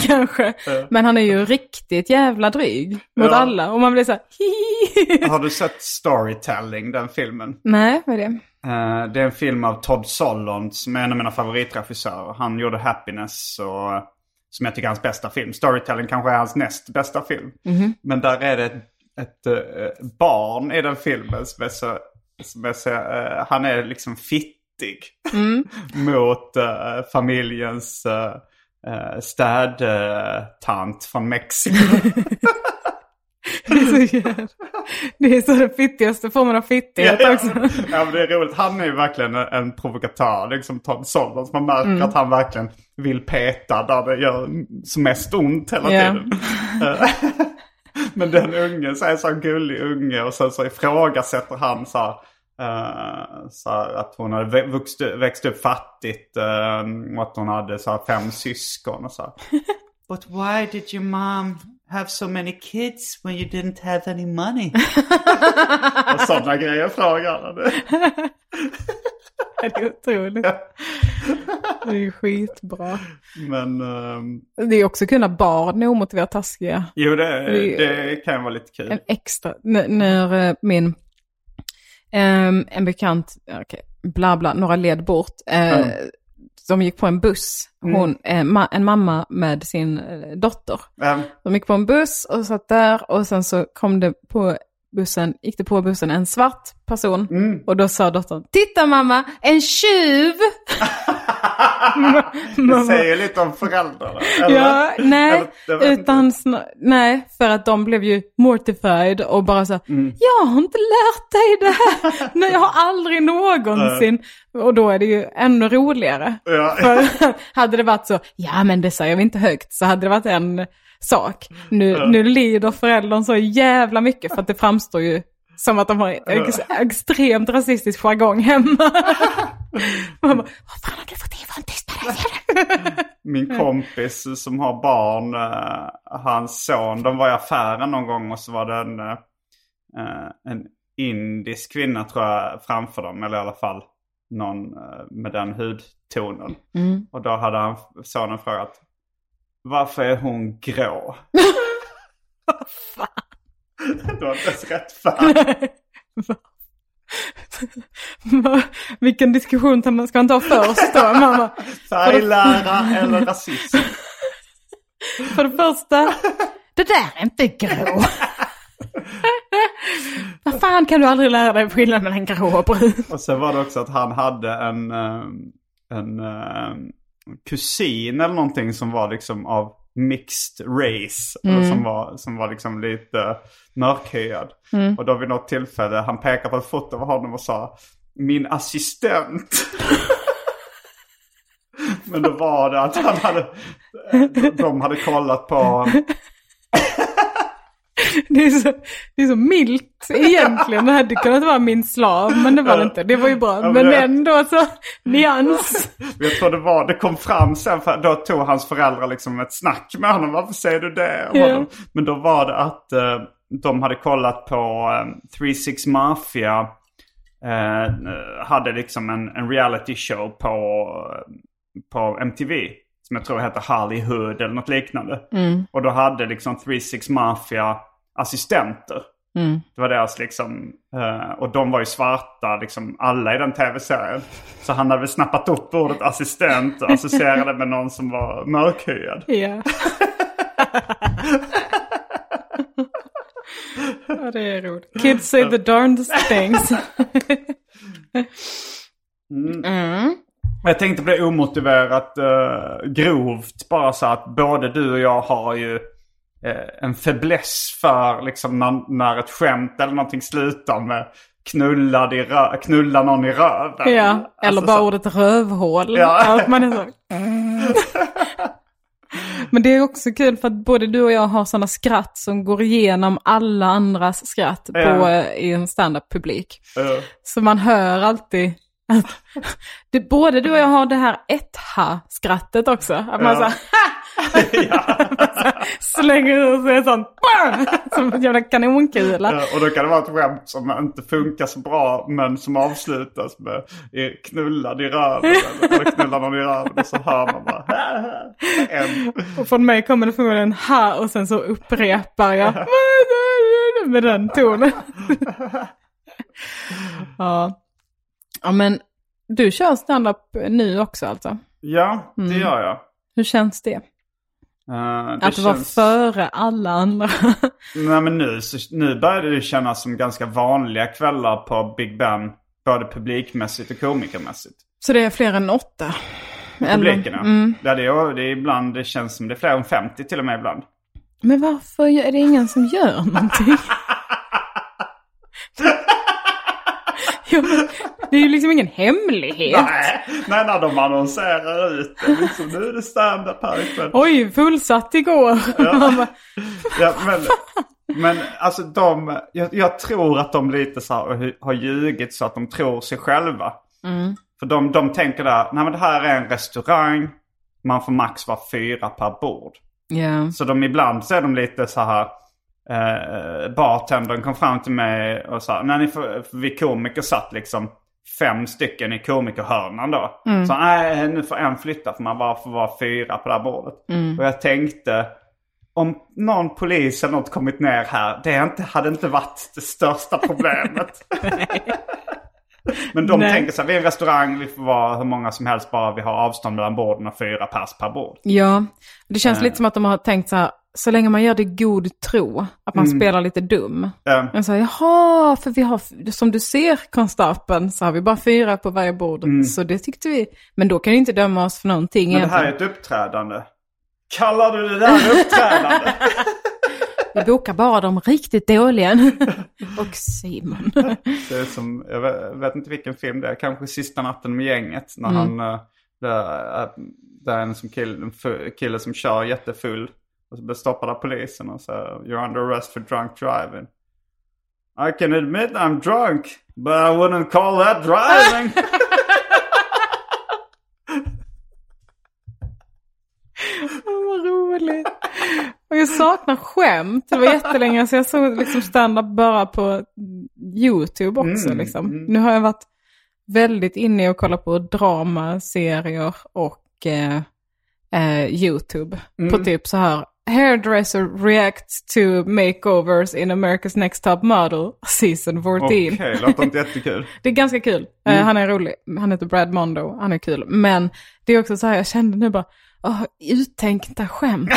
C: kanske. Men han är ju riktigt jävla dryg mot
B: Ja.
C: alla. Och man blir så här, hihi.
B: Har du sett Storytelling, den filmen?
C: Nej, vad är det?
B: Eh, det är en film av Todd Solondz som är en av mina favoritregissörer. Han gjorde Happiness och, som jag tycker är hans bästa film. Storytelling kanske är hans näst bästa film. Men där är det ett, ett eh, barn i den filmen som är så... Som är så eh, han är liksom fittig mot eh, familjens uh, städtant från Mexiko.
C: Det är så, jävla... det, är så den fittigaste formen av fittighet
B: Ja,
C: också.
B: Ja, ja, men det är roligt. Han är ju verkligen en, en provokatör, liksom Tom Sollers. Man märker
C: Mm.
B: att han verkligen vill peta där det gör som mest ont hela
C: Ja.
B: tiden. Eh, men den ungen, så är så här gullig unge och sen så ifrågasätter han så här, eh, så här att hon hade vä- vuxit, växt upp fattigt eh, och att hon hade så här fem syskon och så här. But why did your mom have so many kids when you didn't have any money? och sådana grejer frågar han.
C: Det är otroligt. Det är ju skitbra.
B: Men ehm,
C: Det är också kunna barn är omotiverat taskiga.
B: jo, det,
C: Vi-
B: det kan ju vara lite kul.
C: en extra, n- när eh, min, ehm, en bekant, okej, bla bla, några led bort, eh, de gick på en buss, hon, eh, ma- en mamma med sin eh, dotter.
B: Ehm,
C: De gick på en buss och satt där och sen så kom det på bussen, gick det på bussen en svart person och då sa dottern, titta mamma, en tjuv!
B: det säger ju lite om föräldrarna. Eller?
C: Ja, nej,
B: Eller, jag vet
C: utan snar- nej, för att de blev ju mortified och bara så här,
B: Mm.
C: jag har inte lärt dig det här, nej jag har aldrig någonsin. Och då är det ju ännu roligare.
B: Ja.
C: För hade det varit så, ja men det säger vi inte högt, så hade det varit en sak. Nu, nu lider föräldern så jävla mycket för att det framstår ju som att de har ex- extremt rasistisk jargong hemma. Man bara, vad fan har du fått det ifrån? Tyst med dig!
B: Min kompis som har barn, eh, hans son, de var i affären någon gång och så var det en, eh, en indisk kvinna tror jag framför dem. Eller i alla fall någon eh, med den hudtonen. Och då hade han, sonen frågat varför är hon grå? Det var inte ens rätt färg.
C: Va? Va? Vilken diskussion tar man, ska man ta först då? Mamma,
B: Färglära eller rasism.
C: för det första, det där är inte grå. Vad fan kan du aldrig lära dig skillnaden mellan grå och brun?
B: Och sen var det också att han hade en, eh, en eh, kusin eller någonting som var liksom av mixed race. eller Som, var, som var liksom lite mörkhyad. Och då vid något tillfälle, han pekade på ett foto av honom och sa Min assistent. Men då var det att han hade, de hade kollat på
C: Det är så, det är så milt egentligen. Det hade kunnat vara min slav, men det var det inte. Det var ju bra.
B: men
C: Men
B: det-
C: ändå så, nyans.
B: Jag tror det var, det kom fram sen, för då tog hans föräldrar liksom ett snack med honom. Varför säger du det? om
C: Ja.
B: honom? Men då var det att eh, de hade kollat på eh, 36 Mafia. Eh, hade liksom en, en reality show på, eh, på MTV. Som jag tror hette Hollywood eller något liknande. Och då hade liksom 36 Mafia assistenter. Det var deras liksom, eh, och de var ju svarta liksom alla i den tv-serien. Så han hade väl snappat upp ordet assistent och associerade med någon som var mörkhyad.
C: Ja. ja, det är roligt. Kids say the darndest things.
B: Jag tänkte på det omotiverat eh, grovt bara så att både du och jag har ju eh, en fäbless för liksom när, när ett skämt eller någonting slutar med knulla, i rö- knulla någon i röven.
C: Ja, eller
B: Alltså,
C: bara
B: så-
C: ordet rövhål.
B: Ja.
C: Att man är så... Mm. Men det är också kul för att både du och jag har sådana skratt som går igenom alla andras skratt på,
B: Ja.
C: eh, i en standup-publik.
B: eh,
C: Så man hör alltid att det, både du och jag har det här ett-ha-skrattet också. Att man
B: Ja.
C: så här, slänger ur sig en sån "Bam!" som en jävla kanonkula.
B: Eh, Och då kan det vara ett skämt som inte funkar så bra men som avslutas med i- knullad i röven. Eller eller knullar någon i röven och så hör man bara. En.
C: Och från mig kommer det förmodligen ha och sen så upprepar jag med den tonen. ja. ja, men du kör stand-up nu också alltså.
B: Ja, det gör jag.
C: Hur känns det?
B: Eh,
C: Att vara före alla andra.
B: Nej men nu, så, nu började det kännas som ganska vanliga kvällar på Big Ben. Både publikmässigt och komikermässigt.
C: så det är fler än åtta? Eller- mm.
B: Publikerna. Där det, är, det är ibland, det känns som det är fler än 50 till och med ibland.
C: Men varför gör- är det ingen som gör någonting? ja, men det är ju liksom ingen hemlighet.
B: Nej, nej, när de annonserar ut det, liksom, nu är det stand-up här ikväll.
C: Oj, fullsatt igår. Man bara,
B: Ja, men, men alltså de, jag, jag tror att de lite så här, har ljugit så att de tror sig själva.
C: Mm.
B: För de, de tänker där, nej men det här är en restaurang, man får max vara fyra per bord.
C: Ja.
B: Så de ibland så är de lite så här, eh, bartendern kom fram till mig och sa, när ni får, för vi komiker satt liksom fem stycken i komikerhörnan då. Så nej, nu får en flytta för man bara får vara fyra på det här bordet. Och jag tänkte, om någon polis eller något kommit ner här, det är inte, hade inte varit det största problemet. Men de
C: Nej.
B: tänker så här, vi är en restaurang, vi får vara hur många som helst bara vi har avstånd mellan borden och fyra pers per bord.
C: ja, det
B: Eh.
C: känns lite som att de har tänkt så här, så länge man gör det i god tro, att man
B: Mm.
C: spelar lite dum.
B: Eh,
C: Men så här, jaha, för vi har, som du ser konstapeln, så har vi bara fyra på varje bord. Så det tyckte vi, men då kan du inte döma oss för någonting
B: Mm. Men det här är
C: egentligen.
B: ett uppträdande. Kallar du det där uppträdande?
C: Vi bokar bara de riktigt dåliga. Och Simon.
B: det är som, jag vet, jag vet inte vilken film det är, kanske Sista natten med gänget. När
C: Mm.
B: han, eh, det är, det är en, som kill, en fu- kille som kör jättefull. Och så blir stoppad av polisen och säger You're under arrest for drunk driving. I can admit I'm drunk, but I wouldn't call that driving.
C: Åh, vad roligt. Och jag saknar skämt. Det var jättelänge sedan jag såg liksom stand-up bara på YouTube också.
B: Mm,
C: liksom.
B: mm.
C: Nu har jag varit väldigt inne i att kolla på
B: Mm.
C: dramaserier och eh, eh, YouTube. På typ så här Hairdresser reacts to makeovers in America's Next Top Model, season 14.
B: Okej, låter inte jättekul.
C: Det är ganska kul. Eh,
B: Mm.
C: han är rolig. Han heter Brad Mondo. Han är kul. Men det är också så här, jag kände nu bara, åh, uttänkta skämt.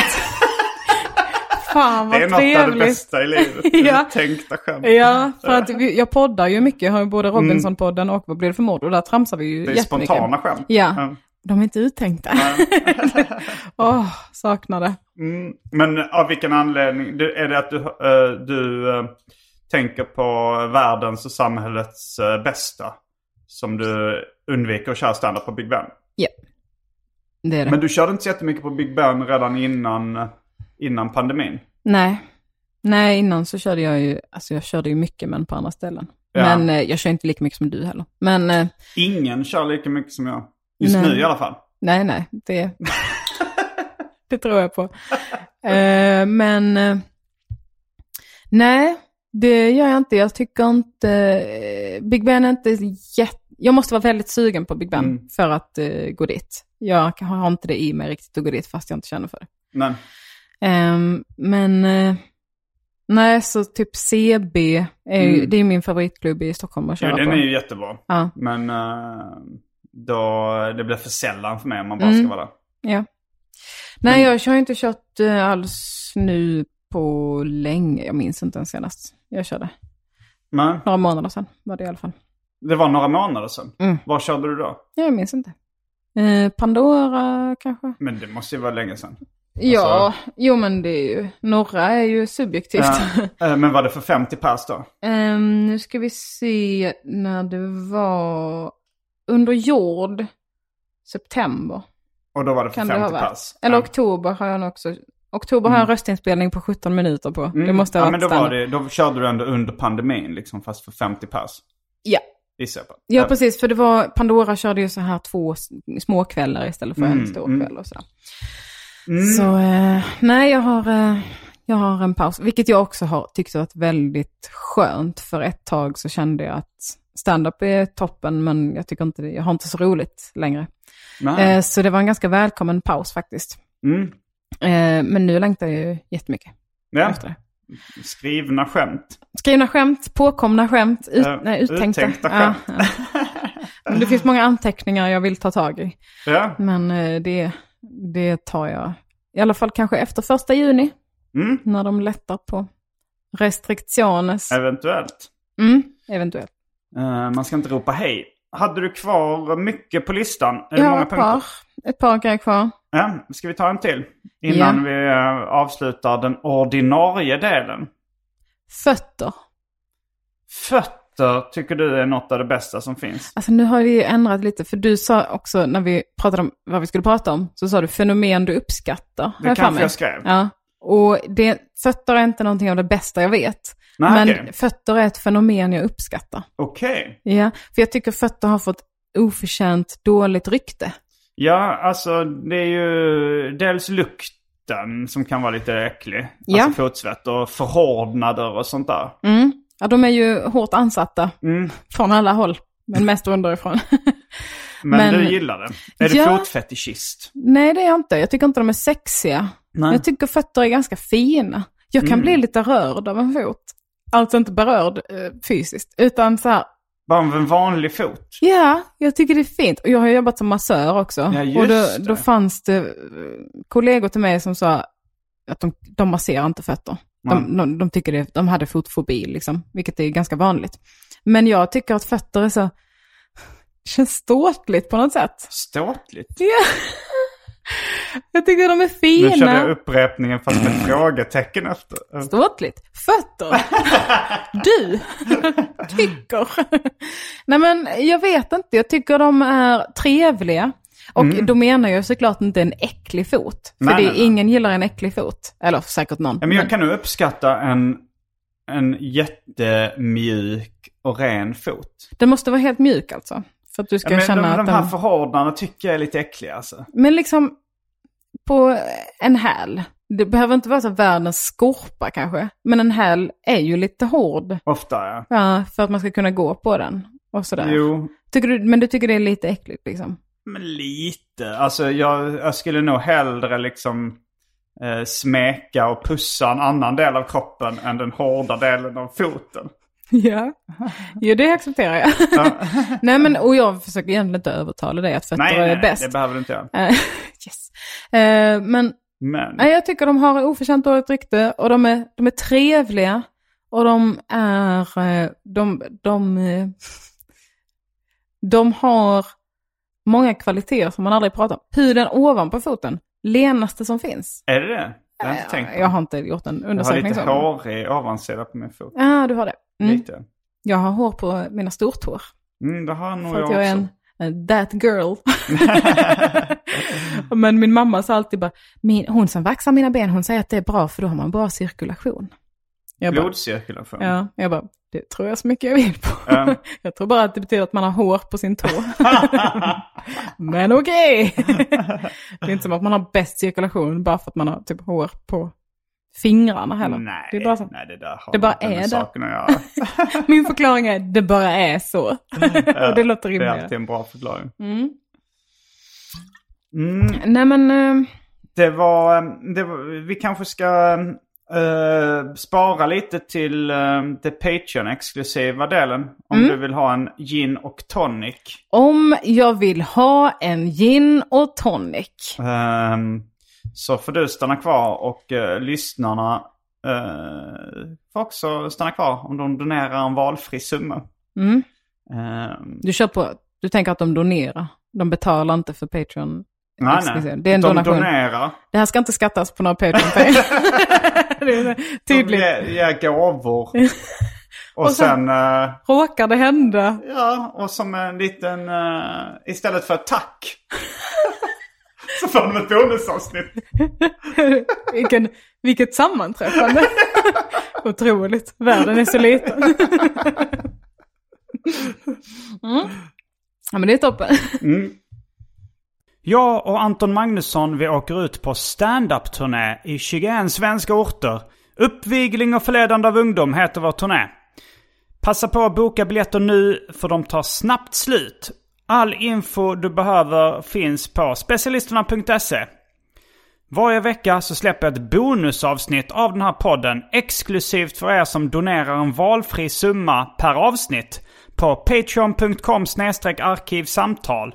C: Fan
B: Det är
C: vad
B: något av det
C: trevligt.
B: bästa i livet.
C: Ja.
B: Tänkta skämt.
C: Ja, för att vi, jag poddar ju mycket. Jag har ju både Robinson-podden och Vad blir det för mord? Och där tramsar vi ju
B: Mm. Det är
C: jättemycket.
B: spontana skämt.
C: Ja,
B: Ja.
C: de är inte uttänkta. Åh, saknar det.
B: Mm. Men av vilken anledning? Du, är det att du, eh, du eh, tänker på världens och samhällets eh, bästa? Som du undviker att köra standard på Big Ben?
C: Ja, det är det.
B: Men du körde inte så jättemycket på Big Ben redan innan, eh, innan pandemin?
C: Nej. Nej, innan så körde jag ju, alltså jag körde ju mycket men på andra ställen.
B: Ja.
C: Men eh, jag kör inte lika mycket som du heller. Men eh,
B: Ingen kör lika mycket som jag. Just
C: Nej.
B: nu i alla fall.
C: nej, nej, det, det tror jag på. Eh, men eh, nej, det gör jag inte. Jag tycker inte, eh, Big Ben är inte jätte, jag måste vara väldigt sugen på Big Ben
B: Mm.
C: för att eh, gå dit. Jag har inte det i mig riktigt att gå dit fast jag inte känner för det.
B: Men
C: Ehm, men eh, nej, så typ CB, är ju,
B: Mm.
C: det är min favoritklubb i Stockholm att köra
B: jo, den
C: på.
B: är ju jättebra.
C: Ja,
B: Men eh, då, det blir för sällan för mig om man bara
C: Mm.
B: ska vara där.
C: ja. Nej, jag har ju inte kört eh, alls nu på länge. Jag minns inte ens senast jag körde.
B: Men
C: Några månader sedan var det i alla fall.
B: det var några månader sedan.
C: Mm.
B: Var körde du då?
C: Ja, Jag minns inte. Eh, Pandora kanske?
B: Men det måste ju vara länge sedan.
C: Ja, jo men det är ju, några är ju subjektivt.
B: Ja, eh, men var det för 50 pers då?
C: Ehm, nu ska vi se när det var under jord, september.
B: Och då var det för
C: Kan det ha
B: 50
C: varit?
B: pers?
C: Eller
B: Ja. Mm.
C: oktober har jag nog också. Oktober har jag en röstinspelning på 17 minuter på. Det måste ha
B: ja,
C: varit
B: men då, var
C: standard.
B: det, då körde du ändå under pandemin liksom, fast för 50 pers.
C: Ja.
B: Gissar jag på.
C: ja, precis. För det var, Pandora körde ju så här två s- små kvällar istället för en
B: Mm,
C: stor
B: mm.
C: kväll och så. Så eh, nej, jag har, eh, jag har en paus. Vilket jag också har tyckt varit väldigt skönt. För ett tag så kände jag att stand-up är toppen, men jag tycker inte det, jag har inte så roligt längre.
B: Nej.
C: Eh, så det var en ganska välkommen paus faktiskt.
B: Mm.
C: Eh, men nu längtar jag ju jättemycket
B: Ja.
C: efter det.
B: Skrivna skämt.
C: Skrivna skämt, påkomna skämt, ut,
B: Ja,
C: nej, uttänkta.
B: uttänkta
C: Ja,
B: skämt.
C: ja. Men Det finns många anteckningar jag vill ta tag i,
B: Ja.
C: men eh, det, det tar jag. I alla fall kanske efter första juni,
B: Mm.
C: när de lättar på restriktioner.
B: Eventuellt.
C: Mm, eventuellt.
B: Eh, man ska inte ropa hej. Hade du kvar mycket på listan? Är det
C: Jag har
B: många
C: ett
B: punkter?
C: par, ett par grejer kvar.
B: Ja, ska vi ta en till? Innan vi eh, avslutar den ordinarie delen.
C: Fötter.
B: Fötter tycker du är något av det bästa som finns?
C: Alltså nu har vi ju ändrat lite, för du sa också när vi pratade om vad vi skulle prata om, så sa du fenomen du uppskattar. har
B: Det
C: jag för
B: kanske
C: mig.
B: jag skrev.
C: Ja. Och det, fötter är inte någonting av det bästa jag vet.
B: Nej,
C: men
B: okej.
C: fötter är ett fenomen jag uppskattar.
B: Okej.
C: Ja, för jag tycker fötter har fått oförtjänt dåligt rykte.
B: Ja, alltså det är ju dels lukten som kan vara lite äcklig.
C: Ja.
B: Alltså fotsvett och förhårdnader och sånt där.
C: Mm. Ja, de är ju hårt ansatta
B: Mm.
C: från alla håll, men mest underifrån.
B: Men,
C: Men-
B: du gillar det. Är du
C: Ja.
B: fotfetischist?
C: Nej, det är jag inte. Jag tycker inte de är sexiga.
B: Nej.
C: Jag tycker fötter är ganska fina. Jag kan
B: Mm.
C: bli lite rörd av en fot. Alltså inte berörd eh, fysiskt, utan så här,
B: Bara av en vanlig fot?
C: Ja, jag tycker det är fint. Och jag har jobbat som massör också.
B: Ja, just
C: och då,
B: det.
C: då fanns det eh, kollegor till mig som sa att de, de masserar inte fötter. De, de, de tycker det, de hade fotfobi, liksom, vilket är ganska vanligt. Men jag tycker att fötter är så... känns ståtligt på något sätt.
B: Ståtligt.
C: Ja. Jag tycker de är
B: Nu
C: fina.
B: körde jag upprepningen fast med frågetecken efter.
C: Ståtligt. Fötter. Du tycker. Nej men jag vet inte, jag tycker de är trevliga. Och då menar jag såklart inte en äcklig fot. För
B: Mm. Nej,
C: det är
B: nej, nej.
C: ingen gillar en äcklig fot. Eller säkert någon.
B: Ja, men jag kan nog uppskatta en, en jättemjuk och ren fot.
C: Den måste vara helt mjuk alltså. För att du ska
B: Ja, men
C: känna
B: de,
C: att
B: de här
C: den...
B: förhårdnaderna tycker jag är lite äckliga alltså.
C: Men liksom på en häl. Det behöver inte vara så världens skorpa kanske. Men en häl är ju lite hård.
B: Ofta ja.
C: Ja, för att man ska kunna gå på den. Och sådär.
B: Jo,
C: Tycker du, men du tycker det är lite äckligt liksom?
B: men lite. Alltså jag, jag skulle nog hellre liksom eh, smeka och pussa en annan del av kroppen än den hårda delen av foten.
C: Ja, ja det accepterar jag. nej, men, och jag försöker egentligen inte övertala dig att fötter
B: Nej,
C: är
B: nej, nej,
C: bäst.
B: det behöver du inte göra.
C: Eh, yes. Eh, men
B: Men,
C: nej, jag tycker de har oförtjänt dåligt rykte och de är, de är trevliga och de är... eh, De, de, eh, de har många kvaliteter som man aldrig pratar om. Huden ovanpå foten, lenaste som finns.
B: är det det? Jag har inte tänkt på
C: Jag har inte gjort en
B: Jag har
C: undersökning
B: lite
C: så.
B: hårig ovansida på min fot.
C: Ja, ah, du har det. Mm.
B: Lite.
C: Jag har hår på mina stortår.
B: Mm, det har nog
C: För
B: jag
C: att
B: också.
C: jag är en en that girl. Men min mamma sa alltid bara, min, hon som vaxar mina ben, hon säger att det är bra för då har man bra cirkulation. Jag bara,
B: Blodcirkulation.
C: ja, jag bara, det tror jag så mycket jag vill på.
B: Ja.
C: Jag tror bara att det betyder att man har hår på sin tå. Men okej! det är inte som att man har bäst cirkulation bara för att man har typ hår på fingrarna heller.
B: Nej,
C: det är bara så.
B: nej, det där har
C: Det bara
B: inte
C: är
B: med
C: det.
B: saken att göra.
C: Min förklaring är, det bara är så. Och det låter
B: Mm. Det är
C: rimligare.
B: alltid en bra förklaring.
C: Mm.
B: Mm,
C: Nej men, eh,
B: det, var, eh, det var... Vi kanske ska eh, spara lite till eh, det Patreon-exklusiva delen. Om
C: Mm.
B: du vill ha en gin och tonic.
C: om jag vill ha en gin och tonic.
B: Ehm, så får du stanna kvar och eh, lyssnarna eh, får också stanna kvar om de donerar en valfri summa.
C: Mm.
B: Ehm,
C: Du kör på, du tänker att de donerar. De betalar inte för Patreon.
B: nej,
C: Exklusiv.
B: nej.
C: Det är en
B: de
C: donation.
B: donerar.
C: Det här ska inte skattas på några Patreon-pengar. Det
B: De
C: är Tydligt.
B: ger, ger gåvor. och,
C: Och sen-
B: sen, eh,
C: Råkar det hända?
B: ja, och som en liten, eh, istället för tack. så får de ett bonusavsnitt.
C: Vilken, vilket sammanträffande. Otroligt. Världen är så liten. mm. Ja men det är toppen.
B: Jag och Anton Magnusson vi åker ut på stand-up-turné i 21 svenska orter. Uppvigling och förledande av ungdom heter vår turné. Passa på att boka biljetter nu för de tar snabbt slut. All info du behöver finns på specialisterna.se. Varje vecka så släpper jag ett bonusavsnitt av den här podden exklusivt för er som donerar en valfri summa per avsnitt på patreon.com arkivsamtal.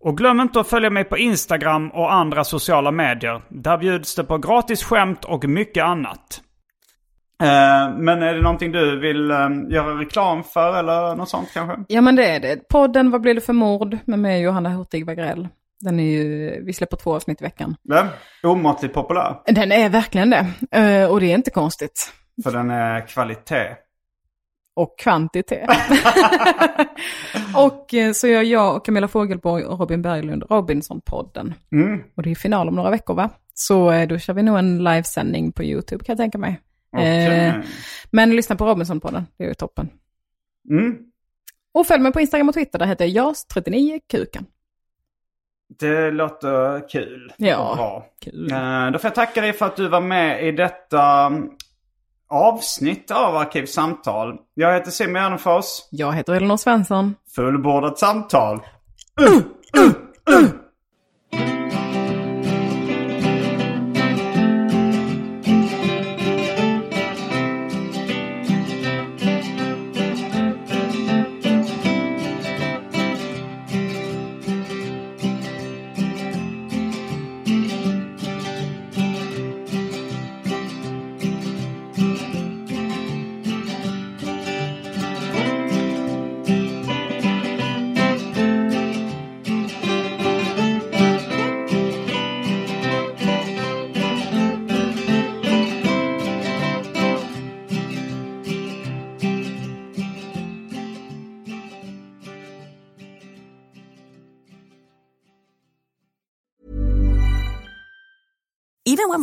B: Och glöm inte att följa mig på Instagram och andra sociala medier. Där bjuds det på gratis skämt och mycket annat. Eh, men är det någonting du vill eh, göra reklam för eller något sånt kanske?
C: Ja men det är det. Podden Vad blir det för mord med mig Johanna Hurtig Wagrell. Den är ju, vi släpper två avsnitt i veckan.
B: Ja, omåttligt populär.
C: Den är verkligen det. Eh, Och det är inte konstigt.
B: För den är kvalitet.
C: Och kvantitet. och eh, så gör jag och Camilla Fogelborg och Robin Berglund Robinson-podden.
B: Mm.
C: Och det är final om några veckor va? Så eh, då kör vi nog en livesändning på YouTube kan jag tänka mig.
B: Okej.
C: Eh, Men lyssna på Robinson-podden, det är ju toppen.
B: Mm.
C: Och följ mig på Instagram och Twitter, där heter jag jas39kuken.
B: Det låter kul.
C: Ja.
B: Och Bra.
C: Kul.
B: Eh, Då får jag tacka dig för att du var med i detta mm, avsnitt av Arkivsamtal. Jag heter Simon Gärdenfors.
C: Jag heter Elinor Svensson.
B: Fullbordat samtal.
E: Even when